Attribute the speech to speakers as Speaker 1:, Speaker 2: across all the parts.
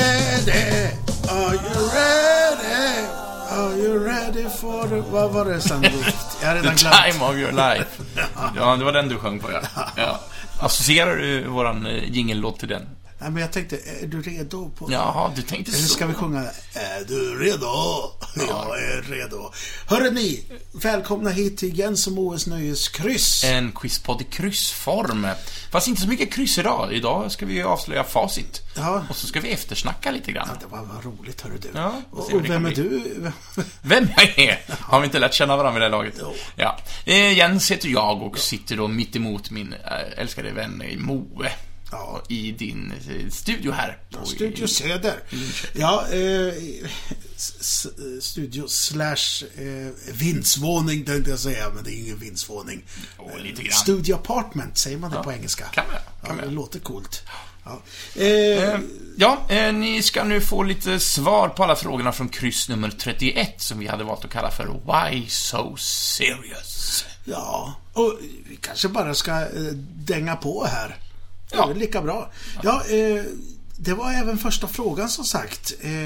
Speaker 1: ready? Are you ready? Are you ready for the... Vad var det sen? Jag har
Speaker 2: The
Speaker 1: redan glömt.
Speaker 2: time of your life. Ja, det var den du sjöng på, ja. ja. Associerar du våran eh, jingellåt till den?
Speaker 1: Nej, men jag tänkte, är du redo på...
Speaker 2: Jaha, du tänkte
Speaker 1: Eller
Speaker 2: så.
Speaker 1: ska vi sjunga Är du redo? Jag är redo. Hörre ni, välkomna hit till Jens och OS Nöjeskryss.
Speaker 2: En quizpodd i kryssform. Fast inte så mycket kryss idag. Idag ska vi ju avslöja facit.
Speaker 1: Ja.
Speaker 2: Och så ska vi eftersnacka lite grann.
Speaker 1: Det var vad roligt hörru du.
Speaker 2: Ja, vi
Speaker 1: och
Speaker 2: ser hur
Speaker 1: och
Speaker 2: det
Speaker 1: vem
Speaker 2: kan
Speaker 1: är du?
Speaker 2: Vem jag är? Har vi inte lärt känna varandra vid det här laget?
Speaker 1: Jo.
Speaker 2: Ja. Eh, Jens heter jag och sitter då mitt emot min eh, älskade vän eh, Moe.
Speaker 1: Ja.
Speaker 2: I din eh, studio här. på-
Speaker 1: Studio Söder. Ja, eh, s- s- studio slash eh, vindsvåning tänkte jag säga, men det är ingen vindsvåning.
Speaker 2: Jo, lite grann.
Speaker 1: Studio apartment, säger man det på engelska?
Speaker 2: kan man, kan
Speaker 1: ja,
Speaker 2: man.
Speaker 1: det låter coolt. Ja. Eh,
Speaker 2: Eh, Ja, eh, ni ska nu få lite svar på alla frågorna från kryss nummer 31 som vi hade valt att kalla för Why So Serious?
Speaker 1: Ja, och vi kanske bara ska eh, dänga på här.
Speaker 2: Ja.
Speaker 1: Ja. Det är lika bra. Ja, eh, det var även första frågan som sagt. Eh,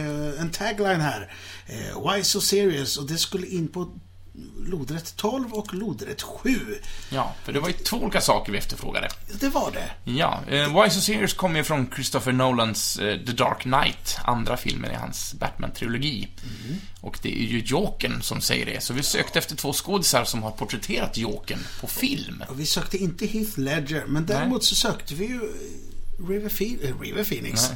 Speaker 1: en tagline här. Eh, Why so serious? Och det skulle in på lodrätt 12 och lodrätt 7.
Speaker 2: Ja, för det var ju två olika saker vi efterfrågade.
Speaker 1: Det var det.
Speaker 2: Ja, eh, Why So Serious kommer ju från Christopher Nolans eh, The Dark Knight, andra filmen i hans Batman-trilogi. Och det är ju Jokern som säger det, så vi sökte efter två skådisar som har porträtterat Jokern på film.
Speaker 1: Och vi sökte inte Heath Ledger, men däremot så sökte vi ju eh, River, Phoenix, eh, River Phoenix.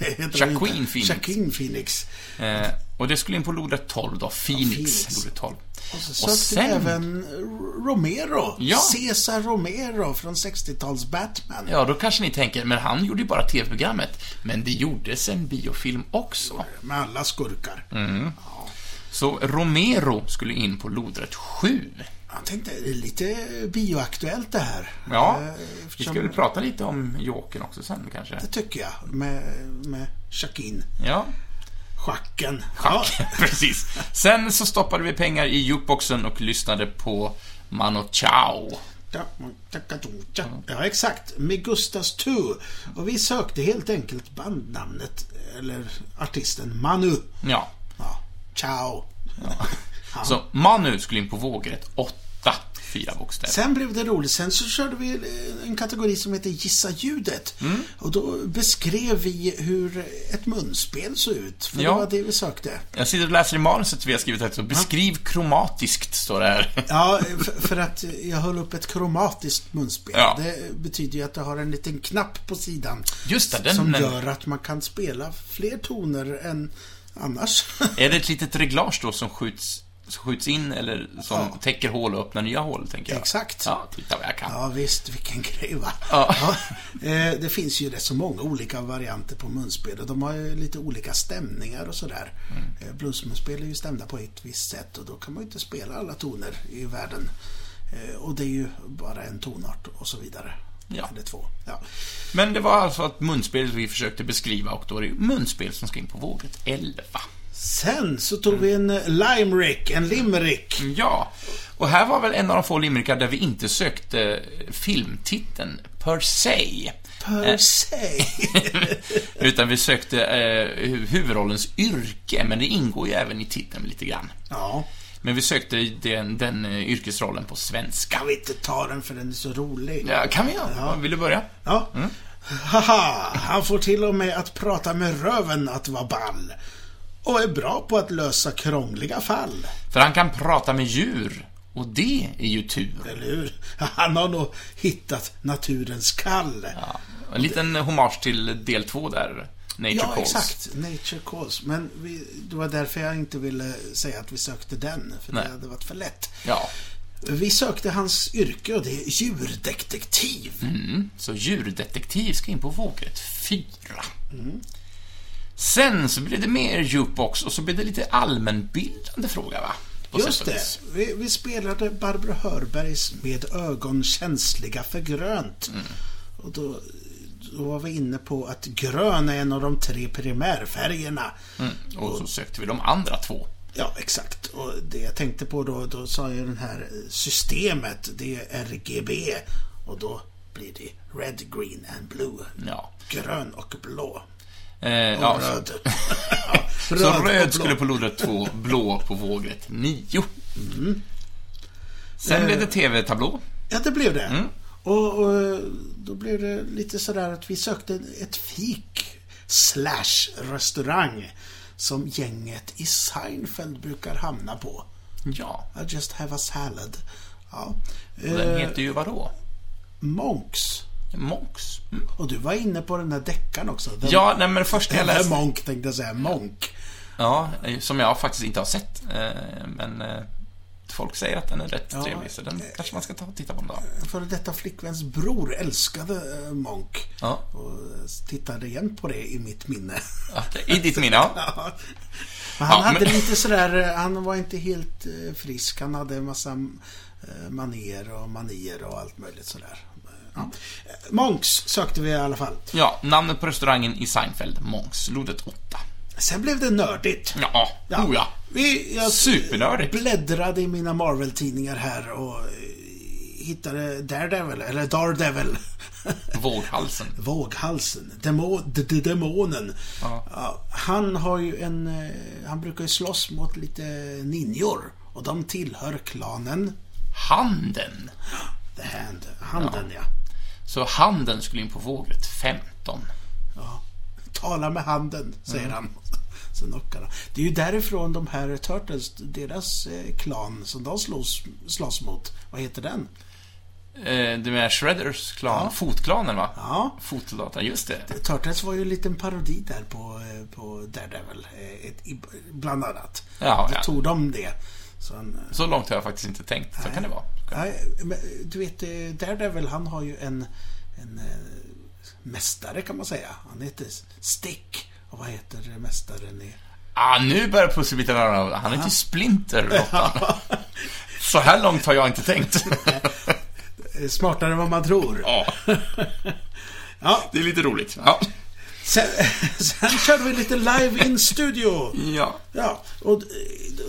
Speaker 1: Heter det
Speaker 2: Jacqueline
Speaker 1: inte.
Speaker 2: Phoenix.
Speaker 1: Jacqueline Phoenix.
Speaker 2: Eh, och det skulle in på lodrätt 12 då, Phoenix,
Speaker 1: Phoenix.
Speaker 2: lodrätt 12.
Speaker 1: Och så sökte vi även Romero.
Speaker 2: Ja.
Speaker 1: Cesar Romero från 60-tals Batman.
Speaker 2: Ja, då kanske ni tänker, men han gjorde ju bara TV-programmet. Men det gjordes en biofilm också.
Speaker 1: Med alla skurkar.
Speaker 2: Mm. Så Romero skulle in på lodrätt 7.
Speaker 1: Jag tänkte, det är lite bioaktuellt det här.
Speaker 2: Ja,
Speaker 1: Eh,
Speaker 2: vi
Speaker 1: eftersom-
Speaker 2: ska väl prata lite om Jokern också sen kanske.
Speaker 1: Det tycker jag. Med, med Shakin.
Speaker 2: Ja,
Speaker 1: Schacken.
Speaker 2: schack.
Speaker 1: Ja.
Speaker 2: Precis. Sen så stoppade vi pengar i jukeboxen och lyssnade på Mano Chao.
Speaker 1: Ja, tackatuncha.
Speaker 2: Mm.
Speaker 1: Ja, exakt. Med Gustas Tu. Och vi sökte helt enkelt bandnamnet, eller artisten Manu.
Speaker 2: Ja.
Speaker 1: Ja, ciao. Ja.
Speaker 2: Så Manu skulle in på vågrätt 8. Fyra bokstäver.
Speaker 1: Sen blev det roligt. Sen så körde vi eh, en kategori som heter Gissa ljudet.
Speaker 2: Mm.
Speaker 1: Och då beskrev vi hur ett munspel såg ut. För
Speaker 2: Ja.
Speaker 1: det var det vi sökte.
Speaker 2: Jag sitter och läser i manuset vi har skrivit här, så beskriv kromatiskt, står det här.
Speaker 1: Ja, Eh, för, för att jag höll upp ett kromatiskt munspel.
Speaker 2: Ja.
Speaker 1: Det betyder ju att det har en liten knapp på sidan.
Speaker 2: Just det, den-
Speaker 1: Som
Speaker 2: den-
Speaker 1: gör att man kan spela fler toner än annars.
Speaker 2: Är det ett litet reglage då som skjuts, som skjuts in eller som
Speaker 1: Ja.
Speaker 2: täcker hål och öppnar nya hål, tänker jag?
Speaker 1: Exakt.
Speaker 2: Ja, titta vad jag kan.
Speaker 1: Ja visst, vilken grej va?
Speaker 2: Ja.
Speaker 1: Eh, Det finns ju rätt så många olika varianter på munspel och de har ju lite olika stämningar och sådär. Mm. Bluesmunspel är ju stämda på ett visst sätt och då kan man ju inte spela alla toner i världen. Eh, Och det är ju bara en tonart och så vidare.
Speaker 2: Ja.
Speaker 1: Eller två. Ja.
Speaker 2: Men det var alltså att munspelet vi försökte beskriva och då är det ju munspel som ska in på vågrätt 11.
Speaker 1: Sen så tog vi en eh, limerick, en
Speaker 2: Mm.
Speaker 1: limerick.
Speaker 2: Ja, och här var väl en av de få limerickar där vi inte sökte filmtiteln per se. Eh.
Speaker 1: Per se.
Speaker 2: Utan vi sökte eh, hu- huvudrollens yrke, men det ingår ju även i titeln lite grann.
Speaker 1: ja.
Speaker 2: Men vi sökte den, den eh, yrkesrollen på svenska.
Speaker 1: Kan vi inte ta den för den är så rolig?
Speaker 2: Ja, kan vi göra. Vill du börja?
Speaker 1: Ja.
Speaker 2: Mm.
Speaker 1: Haha, han får till och med att prata med röven att vara ball. Och är bra på att lösa krångliga fall.
Speaker 2: För han kan prata med djur. Och det är ju tur.
Speaker 1: Eller hur? Han har nog hittat naturens kall. Ja,
Speaker 2: Ja, en liten hommage till del två där. Nature Calls.
Speaker 1: exakt. Nature calls. Men vi, det var därför jag inte ville säga att vi sökte den. För
Speaker 2: Nej.
Speaker 1: det hade varit för lätt.
Speaker 2: Ja.
Speaker 1: Vi sökte hans yrke och det är djurdetektiv.
Speaker 2: Så djurdetektiv ska in på vågrätt 4.
Speaker 1: Mm.
Speaker 2: Sen så blir det mer jukebox och så blir det lite allmänbildande fråga, va? På
Speaker 1: Just
Speaker 2: sätt och
Speaker 1: det.
Speaker 2: vis.
Speaker 1: Vi, vi spelade Barbro Hörbergs Med ögon känsliga för grönt.
Speaker 2: Mm.
Speaker 1: Och då, då var vi inne på att grön är en av de tre primärfärgerna.
Speaker 2: Mm. Och så sökte vi de andra två.
Speaker 1: Ja, exakt. Och det jag tänkte på då, då sa ju den här eh, systemet, det är RGB. Och då blir det Red, Green and Blue.
Speaker 2: Ja.
Speaker 1: Grön och blå.
Speaker 2: Eh, ja,
Speaker 1: Och röd.
Speaker 2: så,
Speaker 1: röd
Speaker 2: så
Speaker 1: och
Speaker 2: röd
Speaker 1: blå.
Speaker 2: skulle på lodrätt 2, blå på vågrätt 9. Sen
Speaker 1: Mm. Eh.
Speaker 2: blev det TV-tablå.
Speaker 1: Ja, det blev det.
Speaker 2: Mm.
Speaker 1: Och, och då blev det lite sådär att vi sökte ett fik slash restaurang som gänget i Seinfeld brukar hamna på.
Speaker 2: Ja.
Speaker 1: I just have a salad. Ja.
Speaker 2: Och den
Speaker 1: Eh,
Speaker 2: heter ju vadå?
Speaker 1: Monks.
Speaker 2: Monks. Mm.
Speaker 1: Och du var inne på den här deckaren också. Den,
Speaker 2: Ja, nej men först jag
Speaker 1: den här
Speaker 2: läste...
Speaker 1: Monk tänkte jag säga. Monk.
Speaker 2: Ja, eh, som jag faktiskt inte har sett. eh, Men eh, folk säger att den är rätt trevlig, så den kanske man ska ta och titta på en dag.
Speaker 1: Före detta flickväns bror älskade eh, Monk.
Speaker 2: Ja.
Speaker 1: Och eh, tittade igen på det i mitt minne.
Speaker 2: Okej, I ditt minne, ja.
Speaker 1: Ja. Men han
Speaker 2: Ja,
Speaker 1: hade
Speaker 2: men-
Speaker 1: lite sådär, eh, han var inte helt eh, frisk. Han hade en massa eh, manér och manier och allt möjligt sådär. Ja. Eh, Monks sökte vi i alla fall.
Speaker 2: Ja, namnet på restaurangen i Seinfeld, Monks, Lodet 8.
Speaker 1: Sen blev det nördigt.
Speaker 2: Ja, ja. Oh, ja.
Speaker 1: Vi, jag
Speaker 2: Supernördigt.
Speaker 1: bläddrade i mina Marvel-tidningar här och eh, hittade Daredevil, eller Daredevil.
Speaker 2: Våghalsen.
Speaker 1: Våghalsen. Demo, d- d- demonen.
Speaker 2: Ja.
Speaker 1: Ja, han har ju en... eh, Han brukar ju slåss mot lite ninjor. Och de tillhör klanen
Speaker 2: Handen.
Speaker 1: The Hand. Handen, ja.
Speaker 2: Så handen skulle in på vågrätt 15.
Speaker 1: ja. Tala med handen, säger
Speaker 2: Mm.
Speaker 1: han. Så knockar han. Det är ju därifrån de här Turtles, deras eh, klan som de slåss, slåss mot. Vad heter den?
Speaker 2: Eh, du menar Shredders klan? Fotklanen, va?
Speaker 1: Ja.
Speaker 2: Fotsoldaterna, just det.
Speaker 1: Turtles var ju en liten parodi där på, eh, på Daredevil, eh, ett, i- bland annat.
Speaker 2: Jaha,
Speaker 1: Då
Speaker 2: ja.
Speaker 1: tog de det. Så han, eh,
Speaker 2: Så långt har jag faktiskt inte tänkt. Så kan det vara.
Speaker 1: Nej, men du vet, eh, Daredevil han har ju en, en eh, mästare kan man säga. Han heter Stick. Och vad heter mästaren i...
Speaker 2: Ah, nu börjar pusselbitarna ramla av. Han heter ju Splinter, Lotta. Så här långt har jag inte tänkt.
Speaker 1: Eh, Smartare än vad man tror.
Speaker 2: ja,
Speaker 1: Ja,
Speaker 2: det är lite roligt. Ja.
Speaker 1: sen, sen körde vi lite live in studio.
Speaker 2: ja.
Speaker 1: Ja, och eh,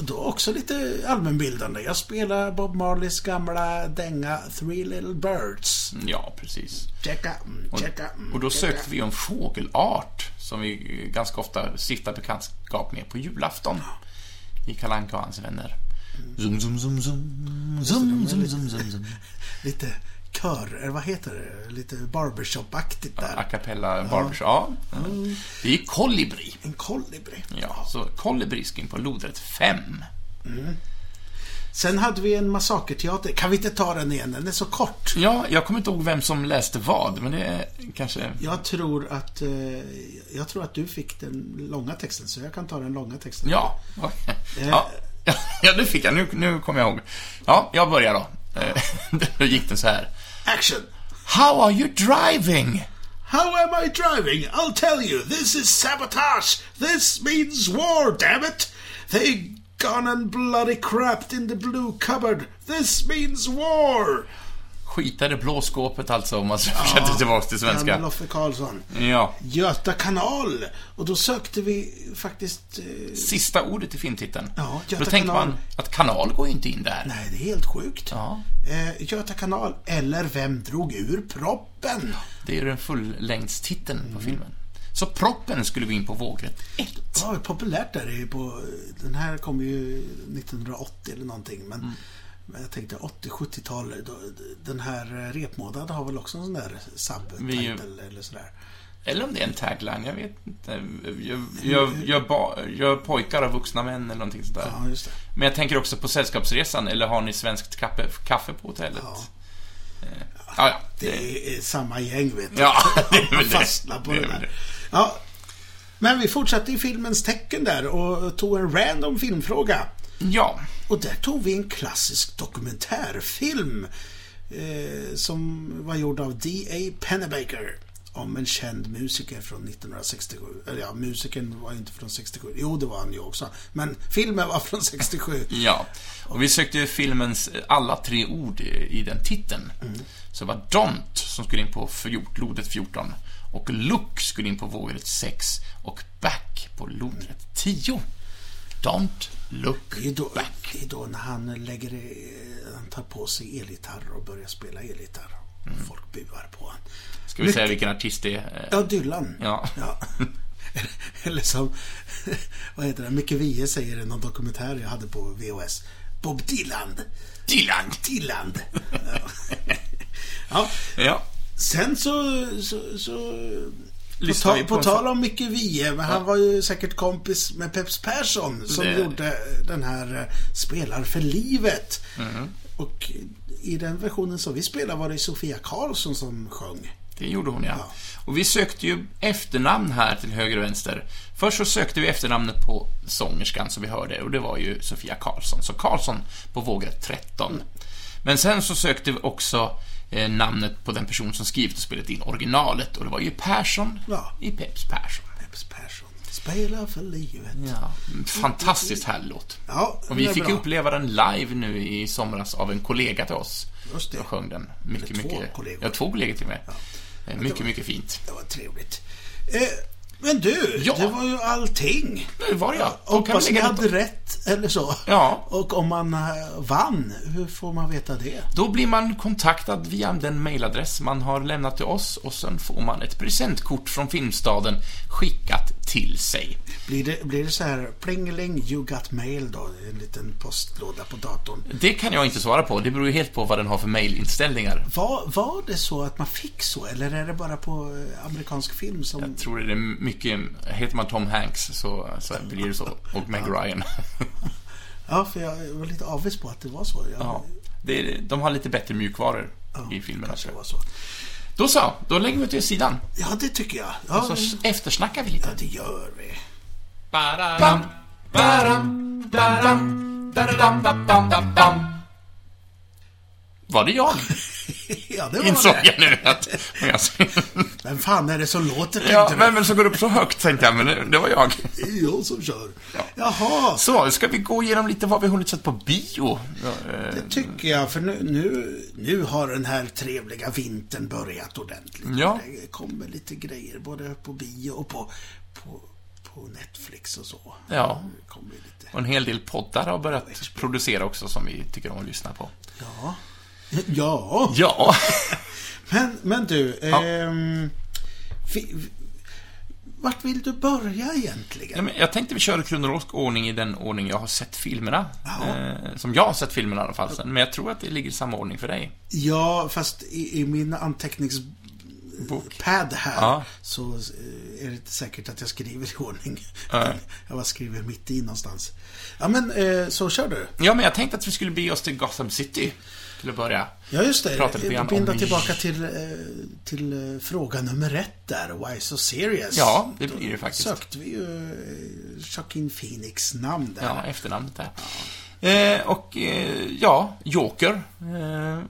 Speaker 1: då också lite allmänbildande. Jag spelar Bob Marleys gamla dänga Three Little Birds.
Speaker 2: Ja, precis.
Speaker 1: Checka, mm, checka, mm,
Speaker 2: Och då
Speaker 1: checka.
Speaker 2: sökte vi ju en fågelart som vi eh, ganska ofta stiftar bekantskap med på julafton. I Kalle Anka och hans vänner.
Speaker 1: Mm.
Speaker 2: Zum, zum, zum, zum. Zum, zum, zum, zum, zum.
Speaker 1: Lite kör, eller vad heter det? Lite barbershop-aktigt
Speaker 2: A
Speaker 1: där.
Speaker 2: cappella barbers. Ja.
Speaker 1: Mm.
Speaker 2: Det är ju kolibri.
Speaker 1: En kolibri.
Speaker 2: Ja, så kolibri ska in på lodrätt 5.
Speaker 1: Sen hade vi en massakerteater. Kan vi inte ta den igen? Den är så kort.
Speaker 2: Ja, jag kommer inte ihåg vem som läste vad, men det är kanske...
Speaker 1: Jag tror att, eh, jag tror att du fick den långa texten, så jag kan ta den långa texten.
Speaker 2: Ja. okej. Ja, ja nu fick jag. Nu, nu kommer jag ihåg. Ja, jag börjar då. Eh, Då gick den så här.
Speaker 1: Action!
Speaker 2: How are you driving?
Speaker 1: How am I driving? I'll tell you. This is sabotage. This means war, damn it. They gone and bloody crapped in the blue cupboard. This means war.
Speaker 2: Skita i det blå skåpet alltså, om man översätter tillbaka till
Speaker 1: Gamla
Speaker 2: svenska.
Speaker 1: Loffe Karlsson.
Speaker 2: Ja.
Speaker 1: Göta kanal. Och då sökte vi faktiskt... Eh,
Speaker 2: Sista ordet i filmtiteln.
Speaker 1: Ja,
Speaker 2: Då
Speaker 1: Göta
Speaker 2: tänker
Speaker 1: kanal.
Speaker 2: man att kanal går ju inte in där.
Speaker 1: nej, det är helt sjukt.
Speaker 2: Ja,
Speaker 1: Eh, Göta kanal, eller Vem drog ur proppen?
Speaker 2: det är ju den fullängdstiteln på filmen. Så proppen skulle vi in på vågrätt 1.
Speaker 1: Ja, hur populärt är det ju på... Den här kom ju 1980 eller någonting, men...
Speaker 2: Mm.
Speaker 1: Men jag tänkte 80-70-tal, då- den här eh, repmånaden har väl också en sån där subtitle eller sådär.
Speaker 2: Eller om det är en tagline, jag vet inte. Gör, gör, gör, ba, gör pojkar av vuxna män eller någonting sådär.
Speaker 1: Ja, just det.
Speaker 2: Men jag tänker också på Sällskapsresan, eller har ni svenskt kaffe, kaffe på hotellet?
Speaker 1: Ja.
Speaker 2: Eh, ja, ja. Det,
Speaker 1: Det är samma gäng, vet du.
Speaker 2: ja, det är
Speaker 1: Man
Speaker 2: väl det.
Speaker 1: fastnar på
Speaker 2: Det
Speaker 1: det,
Speaker 2: är väl
Speaker 1: där. Ja. Men vi fortsatte i filmens tecken där och tog en random filmfråga.
Speaker 2: det. Ja,
Speaker 1: Och där tog vi en klassisk dokumentärfilm eh, som var gjord av D.A. Pennebaker om en känd musiker från 1967. Eller ja, musikern var ju inte från 67. Jo, det var han ju också. Men filmen var från 67.
Speaker 2: ja. Och vi sökte ju filmens eh, alla tre ord i den titeln.
Speaker 1: Mm.
Speaker 2: Så det var Don't som skulle in på fjort, lodet 14. Och Look skulle in på vågrätt 6. Och Back på lodrätt 10. Don't Look.
Speaker 1: Det är, då, det är då när han lägger eh, han tar på sig elgitarr och börjar spela elgitarr. Folk buar på honom.
Speaker 2: Ska vi säga vilken artist det är? Eh,
Speaker 1: Ja, Dylan.
Speaker 2: Ja.
Speaker 1: Ja. Eller som, vad heter det, Micke Wiehe säger i någon dokumentär jag hade på VHS. Bob Dylan.
Speaker 2: Dylan!
Speaker 1: Dylan. Ja. ja.
Speaker 2: Ja.
Speaker 1: Sen så... så, så på,
Speaker 2: Lyssnar vi
Speaker 1: ta,
Speaker 2: på
Speaker 1: på
Speaker 2: en-
Speaker 1: tal om Micke Wiehe, men han var ju säkert kompis med Peps Persson som
Speaker 2: Det-
Speaker 1: gjorde den här eh, Spelar för livet.
Speaker 2: Mm-hmm.
Speaker 1: Och i den versionen som vi spelade var det Sofia Karlsson som sjöng.
Speaker 2: Det gjorde hon, ja.
Speaker 1: Ja.
Speaker 2: Och vi sökte ju efternamn här till höger och vänster. Först så sökte vi efternamnet på sångerskan som vi hörde och det var ju Sofia Karlsson. Så Karlsson på vågrätt 13. Men sen så sökte vi också eh, namnet på den person som skrivit och spelat in originalet och det var ju Persson
Speaker 1: Ja.
Speaker 2: i Peps Persson.
Speaker 1: Peps Persson. Spelar för livet.
Speaker 2: Ja. Fantastiskt härlig låt.
Speaker 1: Ja,
Speaker 2: Och
Speaker 1: den
Speaker 2: vi
Speaker 1: är
Speaker 2: fick
Speaker 1: bra.
Speaker 2: uppleva den live nu i somras av en kollega till oss.
Speaker 1: Just det.
Speaker 2: Som sjöng den. Mycket,
Speaker 1: Eller två
Speaker 2: mycket...
Speaker 1: kollegor.
Speaker 2: Ja, två kollegor till och med. Eh, Mycket, mycket fint.
Speaker 1: Det var trevligt. Eh, men du,
Speaker 2: Ja.
Speaker 1: det var ju allting.
Speaker 2: Det var jag. Och kan vi
Speaker 1: Hoppas ni
Speaker 2: lägga
Speaker 1: hade
Speaker 2: lite...
Speaker 1: rätt eller så.
Speaker 2: Ja.
Speaker 1: Och om man eh, vann, hur får man veta det?
Speaker 2: Då blir man kontaktad via den mailadress man har lämnat till oss och sen får man ett presentkort från Filmstaden skickat till sig.
Speaker 1: Blir det, blir det så här plingeling, you got mail då? En liten postlåda på datorn.
Speaker 2: Det kan jag inte svara på. Det beror ju helt på vad den har för mailinställningar.
Speaker 1: Var, var det så att man fick så eller är det bara på eh, amerikansk film som...
Speaker 2: Jag tror det är mycket... Heter man Tom Hanks så, så blir det så. Och Meg Ryan.
Speaker 1: Ja, för jag var lite avis på att det var så. Jag,
Speaker 2: Ja. Det, de har lite bättre mjukvaror i filmerna.
Speaker 1: Kanske det var så.
Speaker 2: Då så, då lägger vi till sidan.
Speaker 1: Ja, det tycker jag. Ja,
Speaker 2: Så s- eftersnackar vi lite.
Speaker 1: ja det gör vi.
Speaker 2: Ba-da-dam, ba-dam, da-da-dam, da-da-dam, da-dam, da-dam. Var det jag?
Speaker 1: Ja, det var
Speaker 2: Insåg
Speaker 1: det.
Speaker 2: jag nu att... men jag-
Speaker 1: Vem fan är det som låter?
Speaker 2: Ja,
Speaker 1: tänkte du?
Speaker 2: vem är det som går upp så högt, tänkte jag, men det- det var jag.
Speaker 1: Det är jag som kör. Jaha,
Speaker 2: Så, ska vi gå igenom lite vad vi hunnit sett på bio? Ja, eh,
Speaker 1: tycker jag. För nu, nu, nu har den här trevliga vintern börjat ordentligt.
Speaker 2: Ja.
Speaker 1: Det kommer lite grejer både på bio och på, på, på Netflix och så.
Speaker 2: Ja,
Speaker 1: Det kommer lite.
Speaker 2: och en hel del poddar har börjat producera också, som vi tycker om att lyssna på.
Speaker 1: Ja. Ja,
Speaker 2: Ja,
Speaker 1: men, men du. Ehm, vi, vi- vart vill du börja egentligen?
Speaker 2: Ja, men jag tänkte vi kör i kronologisk ordning i den ordning jag har sett filmerna.
Speaker 1: Ja.
Speaker 2: Eh, som jag har sett filmerna i alla fall, sen. men jag tror att det ligger i samma ordning för dig.
Speaker 1: Ja, fast i, i min anteckningspad här
Speaker 2: Ja.
Speaker 1: så eh, är det inte säkert att jag skriver i ordning.
Speaker 2: Nej.
Speaker 1: Jag bara skriver mitt i någonstans. Ja, men eh, så kör du.
Speaker 2: Ja, men jag tänkte att vi skulle bege oss till Gotham City till att börja.
Speaker 1: Ja, just
Speaker 2: Prata lite
Speaker 1: det.
Speaker 2: grann
Speaker 1: Eh, Binda
Speaker 2: om-
Speaker 1: tillbaka till, eh, till eh, fråga nummer ett där. Why so serious?
Speaker 2: Ja, det blir det faktiskt.
Speaker 1: Sökte vi ju eh, Joaquin Phoenix namn där.
Speaker 2: Ja, efternamnet där. Eh, och, eh, ja, Joker. Eh,